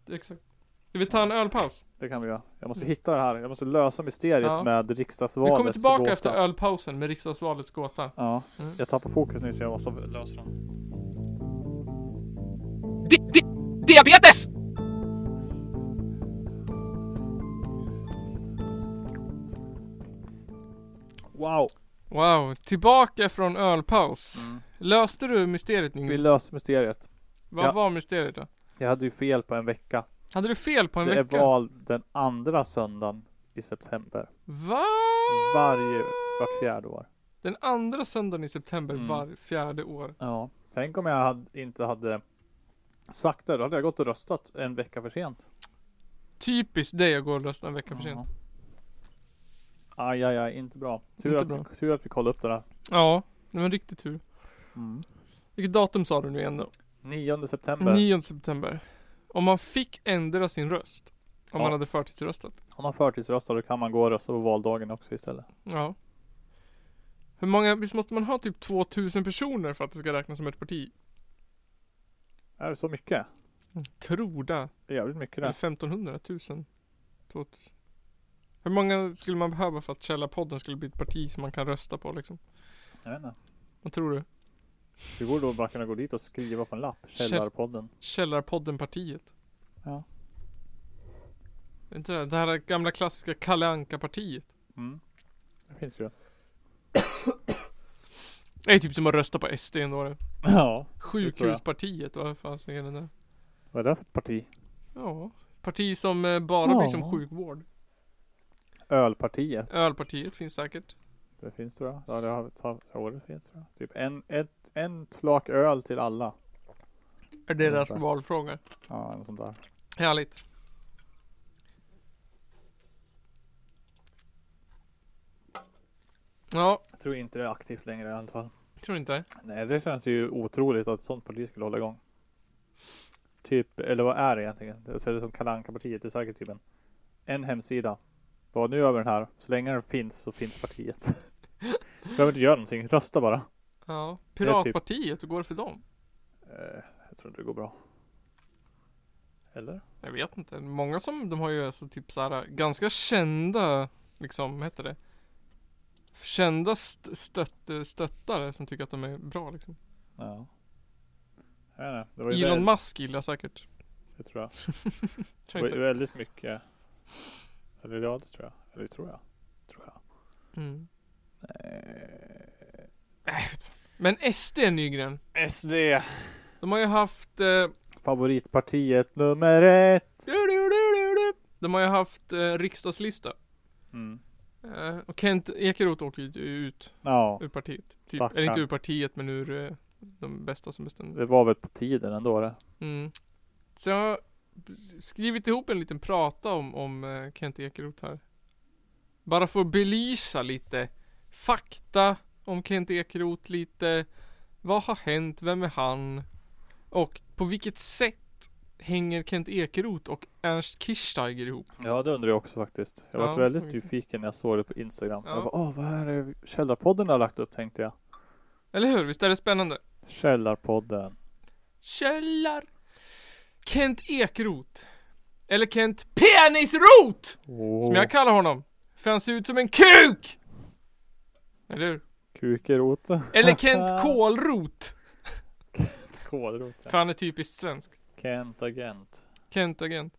är exakt. Ska vi ta en ölpaus? Det kan vi göra. Jag måste Mm. hitta det här. Jag måste lösa mysteriet Ja. med Vi riksdagsvalet. kommer tillbaka gåta. efter ölpausen med riksdagsvalets gåta. Ja, Mm. jag tappade fokus nyss. Jag måste lösa den. Diabetes! Wow! Wow, tillbaka från ölpaus. Mm. Löste du mysteriet Vi Yngve? löser mysteriet. Vad Ja. var mysteriet då? Jag hade ju fel på en vecka. Hade du fel på en det vecka? är val den andra söndagen i september. Va? Varje, vart fjärde år. Den andra söndagen i september Mm. var fjärde år. Ja. Tänk om jag hade, inte hade sakta, då hade jag gått och röstat en vecka för sent. Typiskt dig att gå och rösta en vecka för sent. Ja. Aj, aj, aj, inte bra. Tur, Inte att, bra. tur att vi kollade upp det där. Ja, det var riktigt tur. Mm. Vilket datum sa du nu igen då? 9 september. 9 september. Om man fick ändra sin röst. Om Ja. man hade förtidsröstat. Om man förtidsröstar då kan man gå och rösta på valdagen också istället. Ja. Hur många, visst måste man ha typ 2000 personer för att det ska räknas som ett parti? Är det så mycket? Mm. Tror det. Det är jävligt mycket Eller det. 1500, 1000, 2000. Hur många skulle man behöva för att Källarpodden skulle bli ett parti som man kan rösta på liksom? Jag vet inte. Vad tror du? Du borde då bara kunna gå dit och skriva på en lapp. Källarpodden. Källarpodden-partiet? Ja. Det är Inte det, det här gamla klassiska Kalle Anka-partiet. Mm. Det finns ju. Det är typ som att rösta på SD ändå det. Ja. Sjukhuspartiet, vad fan är det där? Vad är det för ett parti? Ja. Parti som eh, bara blir som Ja. sjukvård. Ölpartiet. Ölpartiet finns säkert. Det finns tror jag. Ja, det har jag. Ja, det finns tror jag. Typ en, ett, en flak öl till alla. Är det Mm, deras bra. valfråga? Ja, något sånt där. Härligt. Ja, Jag tror inte det är aktivt längre i alla fall. tror inte. Nej, det känns ju otroligt att ett sånt parti skulle hålla igång. Typ, eller vad är det egentligen? Det är det som Kalle Anka-partiet. Det är säkert typ en, en hemsida. Bara nu över den här. Så länge den finns så finns partiet. Behöver inte göra någonting. Rösta bara. Ja, är typ- Piratpartiet, hur går det för dem? Eh, jag tror inte det går bra. Eller? Jag vet inte. Många som, de har ju alltså typ så här ganska kända, liksom, vad heter det? Kända st- stött- stöttare som tycker att de är bra liksom. Ja. Jag vet inte. Det var ju Elon väldigt, Musk gillar säkert. det tror jag. Det Tror var ju inte. väldigt mycket. Eller ja, det tror jag. Eller det tror jag. Tror jag. Mm. Men SD Nygren, SD. de har ju haft eh, Favoritpartiet nummer ett. Du, du, du, du, du. De har ju haft eh, riksdagslista. Mm. Eh, och Kent Ekeroth åker ju ut Ja, ur partiet. Typ, Stackarn. eller inte ur partiet men ur eh, de bästa som bestämde. det var väl på tiden ändå det. Mm. Så jag har skrivit ihop en liten prata om, om eh, Kent Ekeroth här. Bara för att belysa lite fakta om Kent Ekeroth lite. Vad har hänt? Vem är han? Och på vilket sätt hänger Kent Ekeroth och Ernst Kirchsteiger ihop? Ja, det undrar jag också faktiskt. Jag Ja, var väldigt så- nyfiken när jag såg det på Instagram. Ja. Jag bara, åh, vad är det Källarpodden har lagt upp tänkte jag. Eller hur? Visst är det spännande? Källarpodden. Källar. Kent Ekrot. Eller Kent Penisrot! Åh, Som jag kallar honom. För han ser ut som en kuk! Eller hur? kukerot. Eller Kent Kålrot. Kålrot. ja. För han är typiskt svensk. Kent Agent. Kent Agent.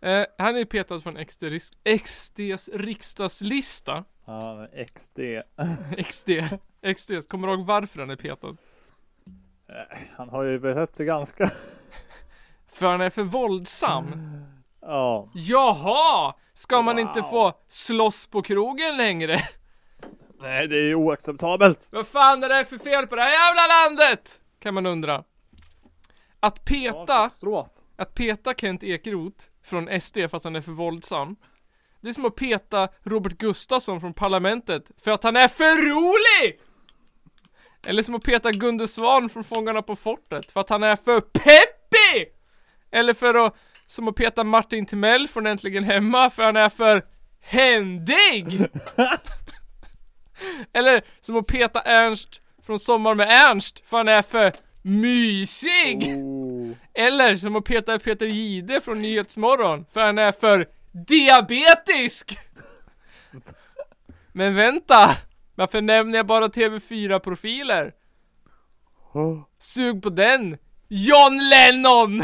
Eh, han är ju petad från XD riks- XDs riksdagslista. Ja, men XD. XD. XDs. Kommer du ihåg varför han är petad? Äh, Han har ju behövt sig ganska. För han är för våldsam. Ja. Jaha! Ska man inte Mm. Wow. få slåss på krogen längre? Nej, det är ju oacceptabelt. Vad fan är det för fel på det här jävla landet? Kan man undra. Att peta, Katastrof. att peta Kent Ekeroth från SD för att han är för våldsam. Det är som att peta Robert Gustafsson från Parlamentet för att han är för rolig! Eller som att peta Gunde Svan från Fångarna på fortet för att han är för peppig! Eller för att, som att peta Martin Timell från Äntligen Hemma för han är för händig! Eller som att peta Ernst från Sommar med Ernst för han är för mysig! Oh. Eller som att peta Peter Gide från Nyhetsmorgon, för han är för diabetisk! Men vänta! Varför nämner jag bara TV4-profiler? Oh. Sug på den! John Lennon!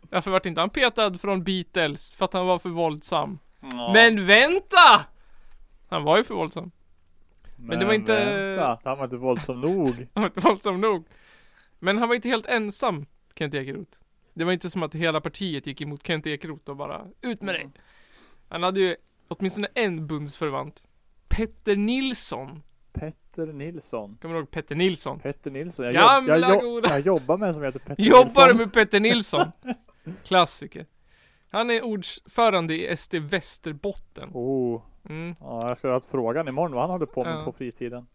Varför vart inte han petad från Beatles? För att han var för våldsam. Men vänta! Han var ju för våldsam. men det var inte- vänta, Han var inte våldsam nog. Han var inte våldsam nog. Men han var inte helt ensam, Kent Ekeroth. Det var inte som att hela partiet gick emot Kent Ekeroth och bara ut med dig. Han hade ju åtminstone en bundsförvant. Petter Nilsson Petter Nilsson. Kommer du ihåg Petter Nilsson? Petter Nilsson. Jag, Gamla jag, goda. jag jobbar med en som heter Petter Jobbar du Nilsson. med Petter Nilsson? Klassiker. Han är ordförande i SD Västerbotten. Oh, Mm. ja, jag skulle ha haft frågan imorgon vad han hade på med Ja. på fritiden.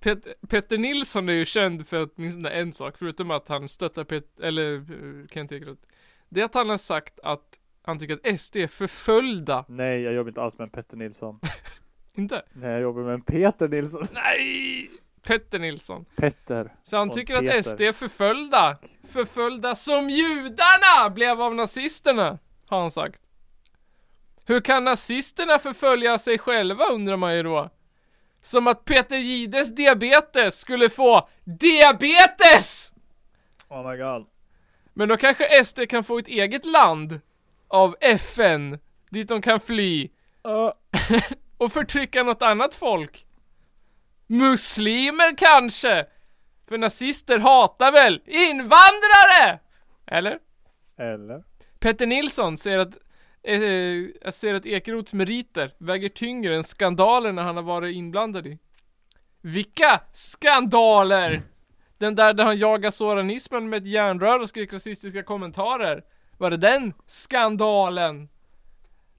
Pet- Petter Nilsson är ju känd för åtminstone en sak, förutom att han stöttar Pet- eller eh, Kent Ekeroth. Det är att han har sagt att han tycker att SD är förföljda. Nej, jag jobbar inte alls med en Petter Nilsson. Inte? Nej, jag jobbar med en Peter Nilsson. Nej! Petter Nilsson. Petter. Så han Och tycker att Peter. SD är förföljda. Förföljda som judarna blev av nazisterna, har han sagt. Hur kan nazisterna förfölja sig själva undrar man ju då. Som att Peter Gides diabetes skulle få DIABETES! Oh my god. Men då kanske SD kan få ett eget land av FN dit de kan fly Uh, och förtrycka något annat folk. Muslimer kanske? För nazister hatar väl invandrare? Eller? eller? Petter Nilsson säger att eh, jag ser att Ekeroths meriter väger tyngre än skandalerna han har varit inblandad i. Vilka skandaler? Den där där han jagar soranismen med ett järnrör och skrek rasistiska kommentarer. Var det den skandalen?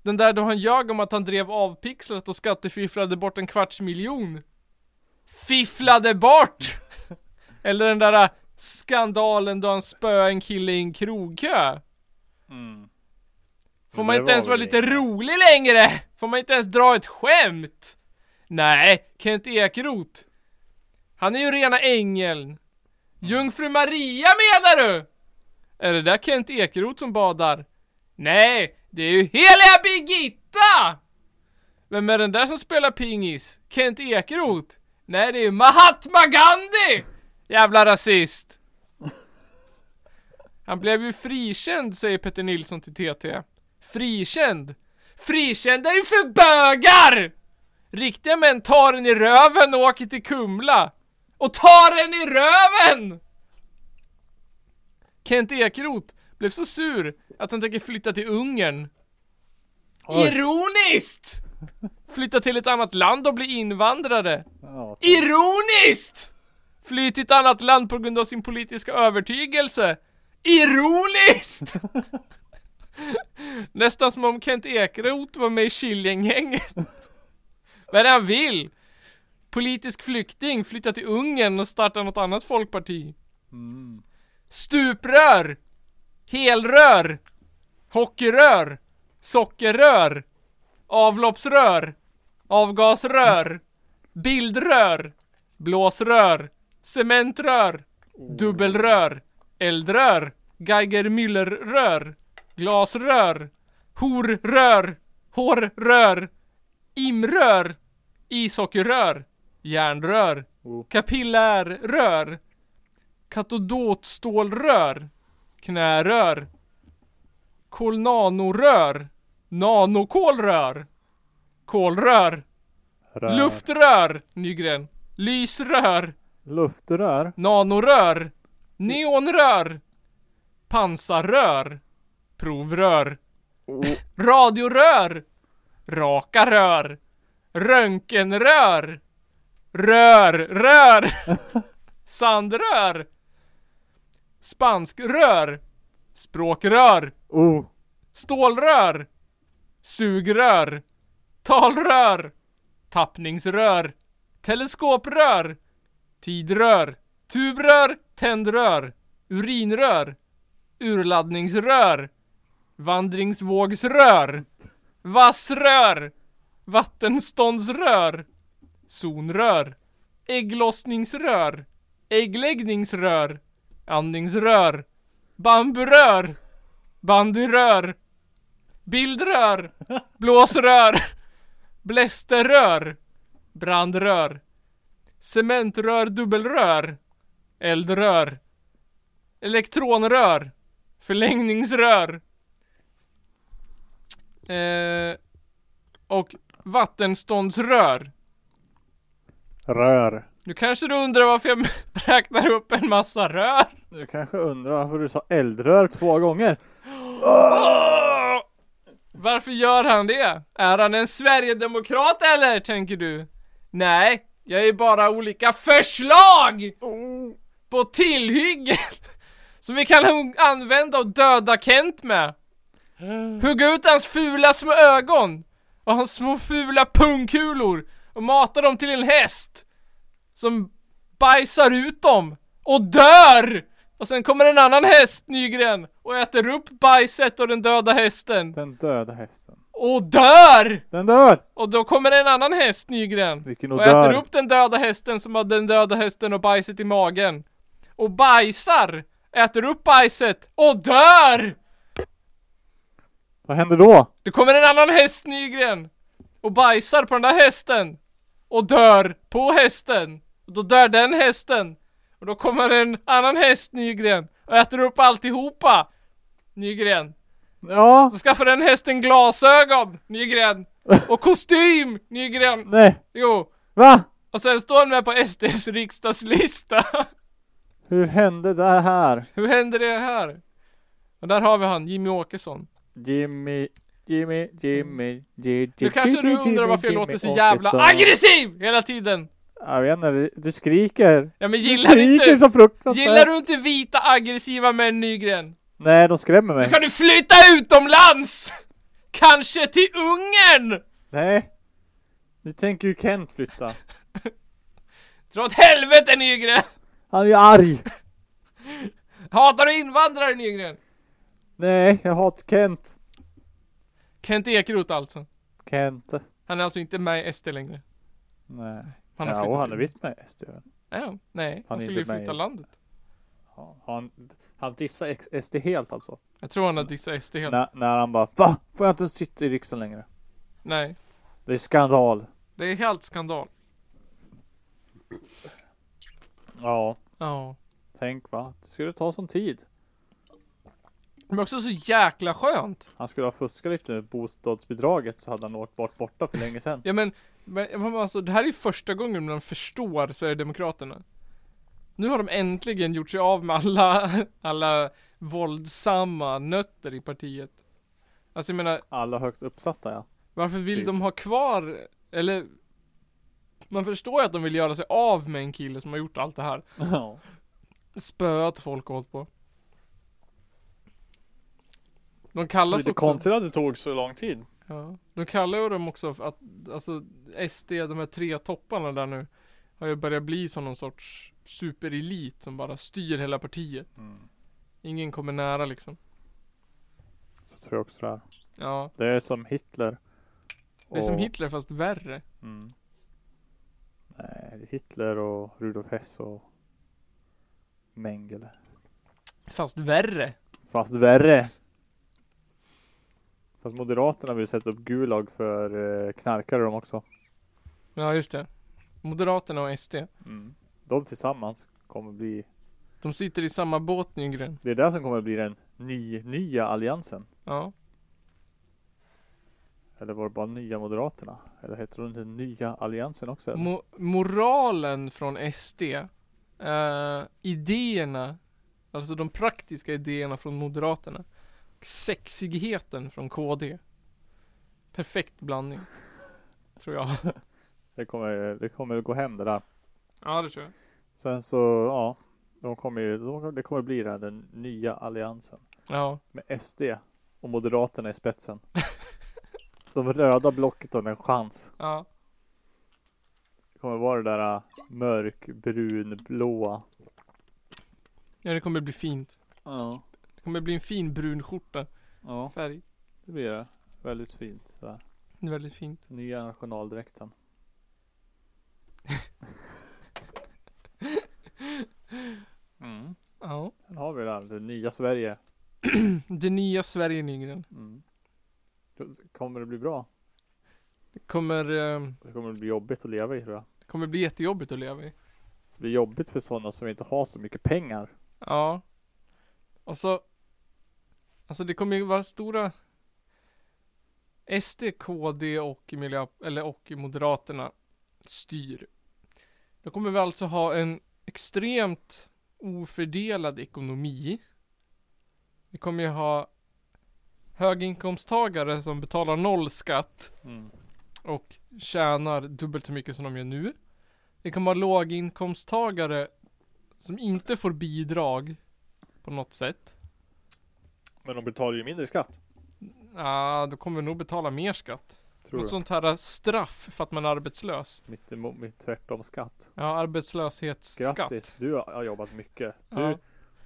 Den där då han ljög om att han drev avpixlat och skattefifflade bort en kvarts miljon. Fifflade bort! Eller den där eh, skandalen då han spöade en kille i en krogkö. Mm. Får Men man det inte ens var vara väl lite inget. rolig längre? Får man inte ens dra ett skämt? Nej, Kent Ekeroth. Han är ju rena ängeln. Jungfru Maria menar du? Är det där Kent Ekeroth som badar? Nej, det är ju heliga Birgitta! Vem är den där som spelar pingis? Kent Ekeroth? Nej, det är ju Mahatma Gandhi! Jävla rasist! Han blev ju frikänd, säger Petter Nilsson till TT. Frikänd? Frikänd är ju för bögar! Riktiga män tar den i röven och åker till Kumla. Och tar den i röven! Kent Ekeroth blev så sur att han tänker flytta till Ungern. Oj. Ironiskt! Flytta till ett annat land och bli invandrare. Ja, Ironiskt! Fly till ett annat land på grund av sin politiska övertygelse. Ironiskt! Nästan som om Kent Ekeroth var med i Killinggänget. Vad är det han vill? Politisk flykting, flytta till Ungern och starta något annat folkparti. mm. Stuprör! Helrör! Hockeyrör! Sockerrör! Avloppsrör! Avgasrör! Bildrör! Blåsrör! Cementrör! Dubbelrör! Eldrör! Geiger-Müller-rör! Glasrör! Horrör! Hårrör! Imrör! Ishockeyrör! Järnrör! Oh. Kapillärrör! Katodotstålrör, knärör, kolnanorör, nanokolrör, kolrör, Rör. luftrör, Nygren, lysrör, Luftrör. nanorör, neonrör, pansarrör, provrör, Oh. radiorör, raka rör, röntgenrör, rör, rör, sandrör, spanskrör, språkrör, Oh. stålrör, sugrör, talrör, tappningsrör, teleskoprör, tidrör, tubrör, tändrör, urinrör, urladdningsrör, vandringsvågsrör, vassrör, vattenståndsrör, zonrör, ägglossningsrör, äggläggningsrör, andningsrör, bamburör, bandyrör, Bildrör! Blåsrör! Blästerrör! Brandrör! Cementrör dubbelrör! Eldrör! Elektronrör! Förlängningsrör! Eh, och vattenståndsrör. Rör. Nu kanske du undrar varför jag räknar upp en massa rör? Du kanske undrar varför du sa eldrör två gånger? Åh! Varför gör han det? Är han en Sverigedemokrat eller, tänker du? Nej, Jag är bara olika förslag! På tillhyggen! Som vi kan hon- använda och döda Kent med! Hugga ut hans fula små ögon! Och hans små fula pungkulor! Och mata dem till en häst! Som bajsar ut dem! Och dör! Och sen kommer en annan häst, Nygren! Och äter upp bajset och den döda hästen! Den döda hästen. Och dör! Den dör! Och då kommer en annan häst, Nygren! Vilken Och och dör. äter upp den döda hästen som har den döda hästen och bajset i magen. Och bajsar! Äter upp bajset och dör! Vad händer då? Det kommer en annan häst Nygren! Och bajsar på den där hästen! Och dör på hästen! Och då dör den hästen! Och då kommer en annan häst Nygren och äter upp alltihopa! Nygren! Ja, Så skaffar den hästen glasögon! Nygren! Och kostym! Nygren! nej. Jo! Va? Och sen står han med på SDs riksdagslista! Hur hände det här? Hur händer det här? Och där har vi han, Jimmy Åkesson. Jimmy, Jimmy, Jimmy, Jimmy. Nu kanske du undrar varför jag låter så jävla aggressiv! aggressiv hela tiden! Jag vet inte, du skriker. Ja men Du gillar du skriker inte, så fruktansvärt. gillar du inte vita aggressiva män Nygren? Nej, de skrämmer Då mig. kan du flytta utomlands! Kanske till Ungern! Nej. Nu tänker ju Kent flytta. Dra åt helvete Nygren! Han är ju arg. Hatar du invandrare Nygren? Nej, jag hatar Kent. Kent Ekeroth alltså. Kent. Han är alltså inte med i SD längre. Nej. Han ja, flyttat och han är ut. visst med SD. väl? Ja, nej, han, är skulle ju inte med flytta i- landet. Ja, Han, han dissar ex- SD helt alltså. Jag tror han har dissat SD helt. När, när han bara Va? Får jag inte sitta i riksdagen längre? nej. Det är skandal. Det är helt skandal. Ja. Ja. Tänk va. Det skulle ta sån tid. Men också så jäkla skönt. Han skulle ha fuskat lite med bostadsbidraget så hade han åkt bort borta för länge sedan. Ja men, men men alltså, det här är ju första gången man förstår Sverigedemokraterna. Nu har de äntligen gjort sig av med alla, alla våldsamma nötter i partiet. Alltså jag menar, Alla högt uppsatta ja. varför vill Typ. de ha kvar, eller man förstår ju att de vill göra sig av med en kille som har gjort allt det här. Ja. Spöat folk och hållit på. De kallas Lite också konstigt att det tog så lång tid. Ja, de kallar ju dem också för att, alltså SD, de här tre topparna där nu Har ju börjat bli som någon sorts superelit som bara styr hela partiet Mm. Ingen kommer nära liksom Så tror jag också det är. Ja, Det är som Hitler. det är som Och- Hitler fast värre Mm. Nej, Hitler och Rudolf Hess och Mengele. Fast värre? Fast värre. Fast Moderaterna vill sätta upp Gulag för eh, knarkare de också. Ja just det Moderaterna och SD Mm. De tillsammans kommer bli, De sitter i samma båt Nygren det är det som kommer bli den ny, nya alliansen. Ja Eller var det bara nya Moderaterna? Eller heter de inte nya alliansen också? eller? Mo- Moralen från SD eh, Idéerna Alltså de praktiska idéerna från Moderaterna och Sexigheten från KD Perfekt blandning Tror jag Det kommer, det kommer gå hem det där. Ja det tror jag Sen så, ja. De kommer ju, de, det kommer bli det här, den nya alliansen. Ja med SD och Moderaterna i spetsen. De röda blocket har en chans. Ja Det kommer vara det där äh, mörkbrunblåa. Ja det kommer bli fint Ja. Det kommer bli en fin brun skjorta Ja, Färg det blir det. Väldigt fint. Så här. Det är Väldigt fint Nya nationaldräkten. Mm. Ja Sen har vi det där, det nya Sverige. Det nya Sverige Nygren Mm. Då- Kommer det bli bra? Det kommer eh, Det kommer bli jobbigt att leva i tror jag. Det kommer bli jättejobbigt att leva i Det blir jobbigt för sådana som inte har så mycket pengar. Ja. Och så. Alltså det kommer ju vara stora. SD, KD och, miljö, eller och Moderaterna styr. Då kommer vi alltså ha en extremt ofördelad ekonomi. Vi kommer ju ha höginkomsttagare som Mm. betalar noll skatt och tjänar dubbelt så mycket som de gör nu. Det kan vara låginkomsttagare som inte får bidrag på något sätt. Men de betalar ju mindre skatt. Ja, då kommer vi nog betala mer skatt. Tror något jag. sånt här straff för att man är arbetslös. Mitt, emot- mitt tvärtom skatt. Ja, arbetslöshetsskatt. Grattis, du har har jobbat mycket. Du, Ja.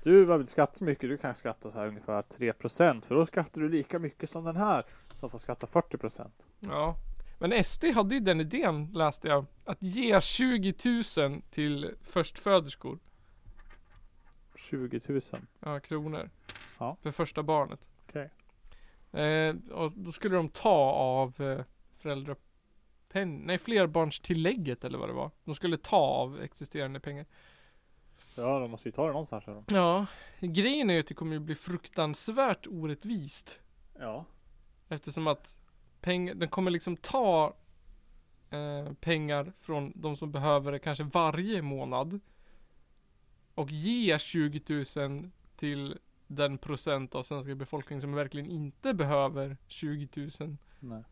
du har skattat så mycket, du kan skatta så här ungefär 3% för då skattar du lika mycket som den här som får skatta 40%. Ja. Men SD hade ju den idén, läste jag. Att ge 20 000 till förstföderskor. 20 000. Ja, kronor. Ja. För första barnet. Okej. Eh, och då skulle de ta av eh, föräldrapenning, nej flerbarnstillägget eller vad det var. De skulle ta av existerande pengar. Ja, de måste ju ta det någonstans. Här. Ja, grejen är ju att det kommer ju bli fruktansvärt orättvist. Ja. Eftersom att peng, den kommer liksom ta eh, pengar från de som behöver det kanske varje månad. Och ge 20 000 till den procent av svenska befolkningen som verkligen inte behöver 20 000. Nej.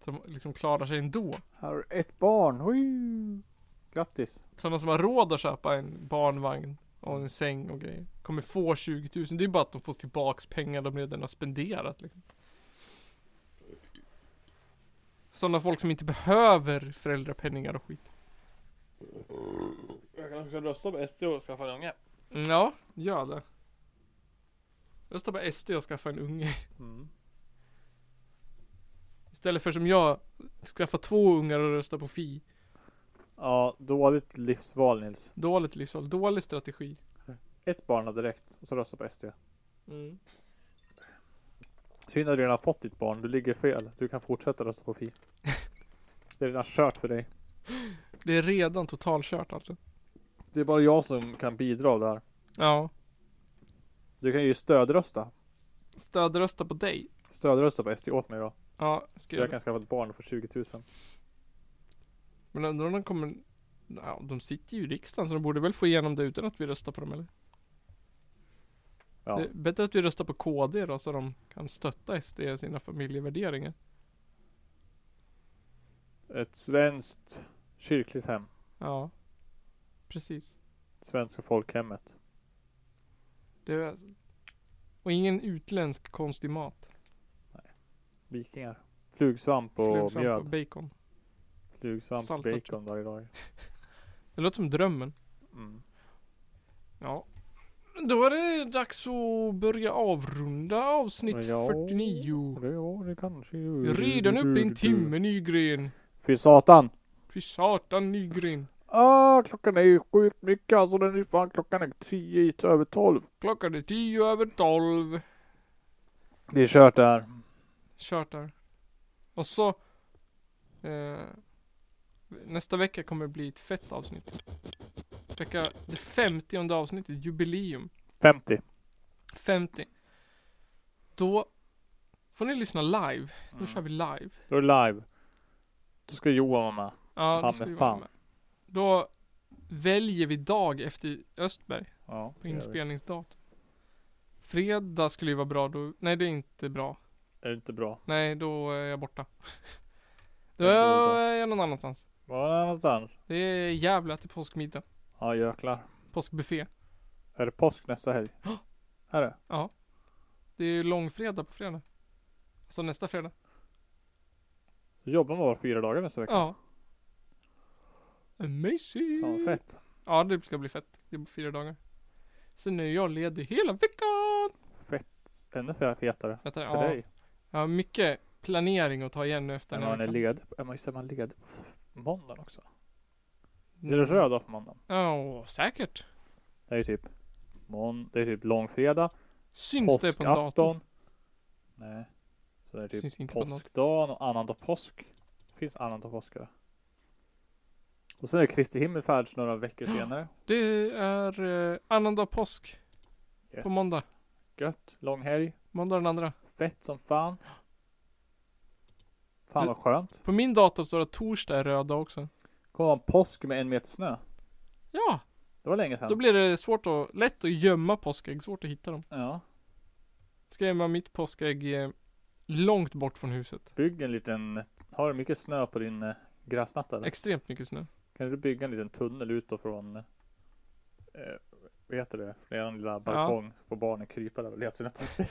Som liksom klarar sig ändå. Här har du ett barn. Woo! Grattis. Sådana som har råd att köpa en barnvagn och en säng och grejer. Kommer få 20 000. Det är bara att de får tillbaks pengar de redan har spenderat. Liksom. Sådana folk som inte behöver föräldrapenningar och skit. Jag kanske ska rösta på SD och skaffa en unge. Mm, Ja, gör det. Rösta på SD och skaffa en unge. Mm. Istället för som jag, skaffa två ungar och rösta på Fi. Ja, dåligt livsval Nils. Dåligt livsval, dålig strategi. Ett barn har direkt och så rösta på SD. Mm. Synd att du redan har fått ditt barn. Du ligger fel. Du kan fortsätta rösta på Fi. Det är redan kört för dig. Det är redan totalkört alltså. Det är bara jag som kan bidra där. Ja. Du kan ju stödrösta. Stödrösta på dig. Stödrösta på SD åt mig då. Ja, ska Så jag jag kan skaffa ett barn och få 20 000. Men undrar om de kommer ja, de sitter ju i riksdagen så de borde väl få igenom det utan att vi röstar på dem eller? Ja. Det är bättre att vi röstar på KD då så de kan stötta SD i sina familjevärderingar. Ett svenskt kyrkligt hem. Ja. Precis. Svenska folkhemmet. Det är... Och ingen utländsk konstig mat. Vikingar. Flugsvamp och Flugsvamp och mjöd. bacon. Flugsvamp och Salt och bacon varje dag. Det låter som drömmen. Mm. Ja. Då är det dags att börja avrunda avsnitt Ja. 49. Mm. Det, ja, det kanske Vi är redan uppe i en timme Nygren. Fy satan. Fy satan Nygren. Ah, klockan är ju sjukt mycket alltså. Den är fan klockan är tio i över tolv. Klockan är tio över tolv. Det är kört det här. Kört där. Och så eh, Nästa vecka kommer det bli ett fett avsnitt. Vecka, det 50 avsnittet, jubileum. 50. 50. Då får ni lyssna live. Då Mm. kör vi live. Då är det live. Då ska Johan vara med. Ja, Fan det ska med vi vara fan. med. Då väljer vi dag efter Östberg. Ja, På det gör vi. inspelningsdatum. Fredag skulle ju vara bra då. Nej, det är inte bra. Är det inte bra? Nej, då är jag borta. Då Ja, då är du borta. är jag någon annanstans. Var det något annat? Det är jävla till påskmiddag. Ja, jäklar. Påskbuffé. Är det påsk nästa helg? Ja. är det? Det är ju långfredag på fredag. Alltså nästa fredag. Då jobbar man bara fyra dagar nästa vecka. Ja. Amazing. Ja, fett. Ja, det ska bli fett. Det är bara fyra dagar. Sen är jag ledig hela veckan. Ännu fe- fetare. Vet du, För ja, dig. jag har mycket planering att ta igen nu efter När den här man är veckan. ledig. Är man, just det, man är ledig på f- måndagen också? Mm. Är det röd dag på måndagen? Ja, säkert. Det är ju typ mån, det är typ långfredag, Syns det på en dator? påskafton. Nej. Så det är typ Syns inte på en dator. påskdagen och annandag påsk. Finns annandag påsk då. Och sen är det Kristi himmelfärd några veckor senare. Det är eh, annandag påsk Yes. på måndag. Gött. Lång helg. Måndag den andra. Fett som fan. Fan Du- vad skönt. På min dator står det att torsdag är röd dag också. Kommer vara en påsk med en meter snö. Ja, Det var länge sedan. då blir det svårt att, lätt att gömma påskägg, svårt att hitta dem. Ja. Ska jag gömma mitt påskägg eh, långt bort från huset. Bygg en liten. Har du mycket snö på din eh, gräsmatta? eller? Extremt mycket snö. Kan du bygga en liten tunnel ut då från, eh, vad heter det, eran lilla balkong. Så får barnen krypa där och leta sina påskägg.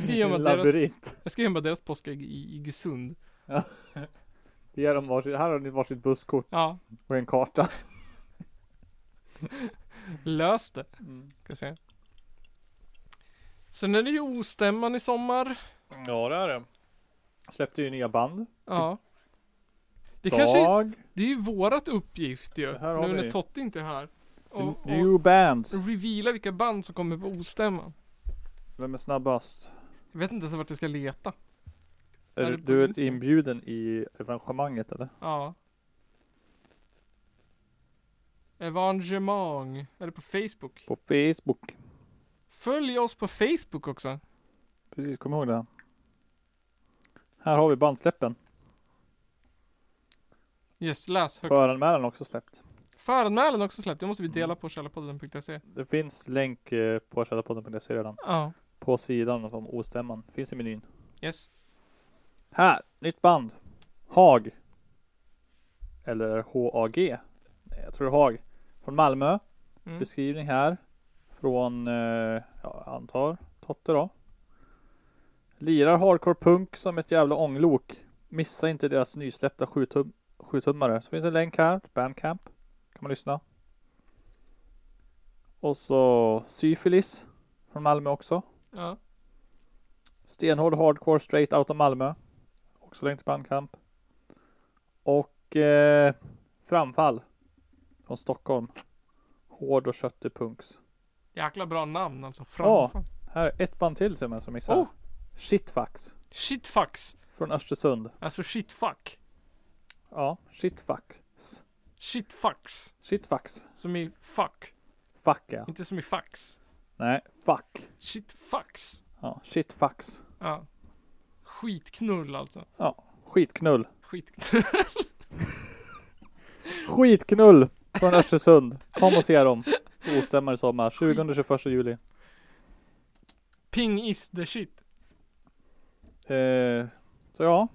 ska gömma En deras, labyrint. jag ska gömma deras påskägg i Iggesund. Ge dem varsitt, här har ni varsitt busskort Ja, och en karta. lös det. Ska se. Sen är det ju ostämman i sommar. Ja det är det. Släppte ju nya band. Ja. Det Dag. kanske, det är ju vårat uppgift ju. Här har Nu när vi. Totte inte är här. Och, Mm. och New bands. reveala vilka band som kommer på ostämman. Vem är snabbast? Jag vet inte ens vart jag ska leta. Är Är du, det du är polisen? inbjuden i evenemanget eller? Ja. Evangemang. Är det på Facebook? På Facebook. Följ oss på Facebook också. Precis, kom ihåg det. Här har vi bandsläppen. Yes, läs högt. Föranmälan också släppt. Föranmälan också släppt. Det måste vi dela Mm. på källarpodden.se. Det finns länk eh, på källarpodden.se redan. Ja. På sidan om ostämman. Finns i menyn. Yes. Här! Nytt band. Hag. Eller H-A-G. Nej, Jag tror det är Hag. Från Malmö. Mm. beskrivning här från, eh, ja, jag antar Totte då. Lirar hardcore punk som ett jävla ånglok. Missa inte deras nysläppta sjutum- sjutummare. Så finns en länk här, Bandcamp. Kan man lyssna. Och så Syfilis från Malmö också. Ja. Stenhård hardcore straight out of Malmö. Också länk till Bandcamp. Och eh, Framfall från Stockholm. Hård och köttig punks. Jäkla bra namn alltså. Ja. Framför. Här är ett band till som jag som missade. Oh! Shitfax. Shitfax. Från Östersund. Alltså shitfuck. Ja, shitfax. Shitfax. Shitfax. Som i fuck. Fuck ja. Inte som i fax. Nej, fuck. Shitfax. Ja, shitfax. Ja. Skitknull alltså. Skitknull. Skitknull. Skitknull! Från Östersund. Kom och se dem. Ostämmar i sommar. 20-21 juli. Ping is the shit. Eh, så ja.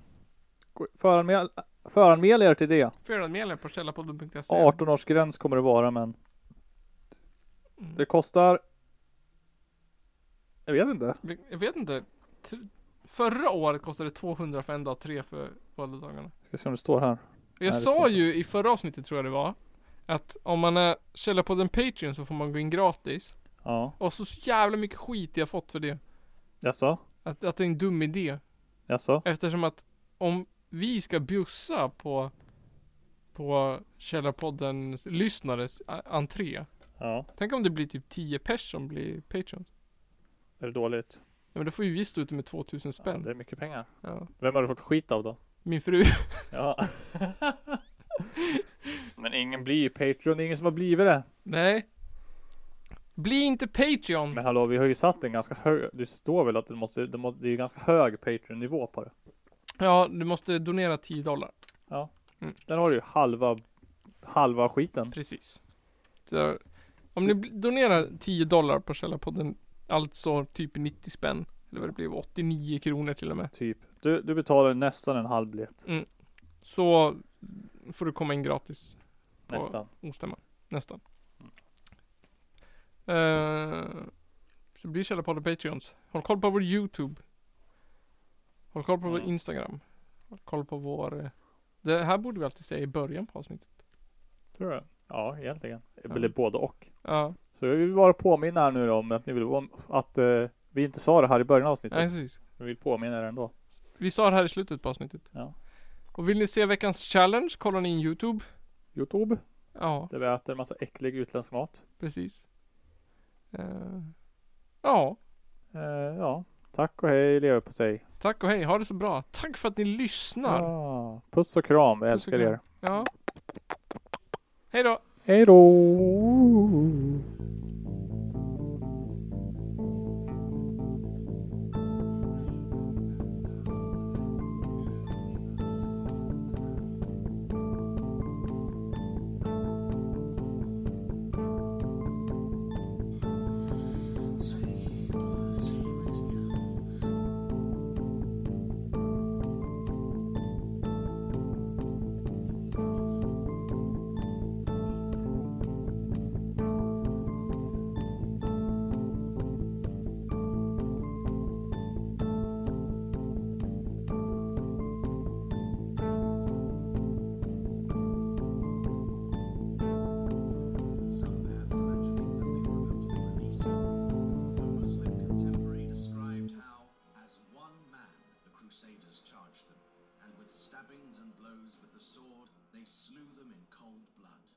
Gå- Föranmäl, föranmäl er till det. Föranmäl er på källarpodden.se. 18-årsgräns kommer det vara men. Mm. Det kostar. Jag vet inte. Jag vet inte. Tr- Förra året kostade det 200 för en dag, tre för båda dagarna. Ska se om det står här. Jag det sa står så. ju i förra avsnittet tror jag det var. Att om man eh, är källarpodden Patreon så får man gå in gratis. Ja. Och så så jävla mycket skit jag fått för det. Jaså? Att, att det är en dum idé. Jaså? Eftersom att om vi ska bjussa på på källarpoddens lyssnares a- entré. Ja. Tänk om det blir typ 10 pers som blir Patreons. Är det dåligt? Ja, men då får ju vi stå ute med 2000 Ja, spänn. det är mycket pengar. Ja. Vem har du fått skit av då? Min fru. Ja. Men ingen blir ju Patreon, det är ingen som har blivit det. Nej. Bli inte Patreon. Men hallå, vi har ju satt en ganska hög, det står väl att det måste, det, må, det är ju ganska hög Patreon-nivå på det. Ja, du måste donera 10 dollar. Där har du ju halva, halva skiten. Precis. Så, om ni bl- donerar 10 dollar på Källarpodden, alltså typ 90 spänn, eller vad det blev, 89 kronor till och med. Typ. Du, du betalar nästan en halv biljett. Så får du komma in gratis på Nästan. ostämman. Nästan. Eh, så blir Källarpodden Patreons. Håll koll på vår YouTube. Håll koll på vår Mm. Instagram. Håll koll på vår... eh, Det här borde vi alltid säga i början på avsnittet. Tror du? Ja, egentligen. Ja. Eller både och. Ja, Så jag vill bara påminna er nu då om att ni vill, om att eh, vi inte sa det här i början av nej, avsnittet. precis. Vi vill påminna er ändå. Vi sa det här i slutet på avsnittet. Ja. Och vill ni se veckans challenge, kollar ni in YouTube. Youtube, Ja, där vi äter en massa äcklig utländsk mat. precis. Eh, ja, Eh, ja, tack och hej leverpastej. tack och hej. Ha det så bra. Tack för att ni lyssnar. Ja. Ja, Ah. puss och kram, vi Puss och älskar kram. er. Hej då. Hej då! crusaders charged them, and with stabbings and blows with the sword, they slew them in cold blood.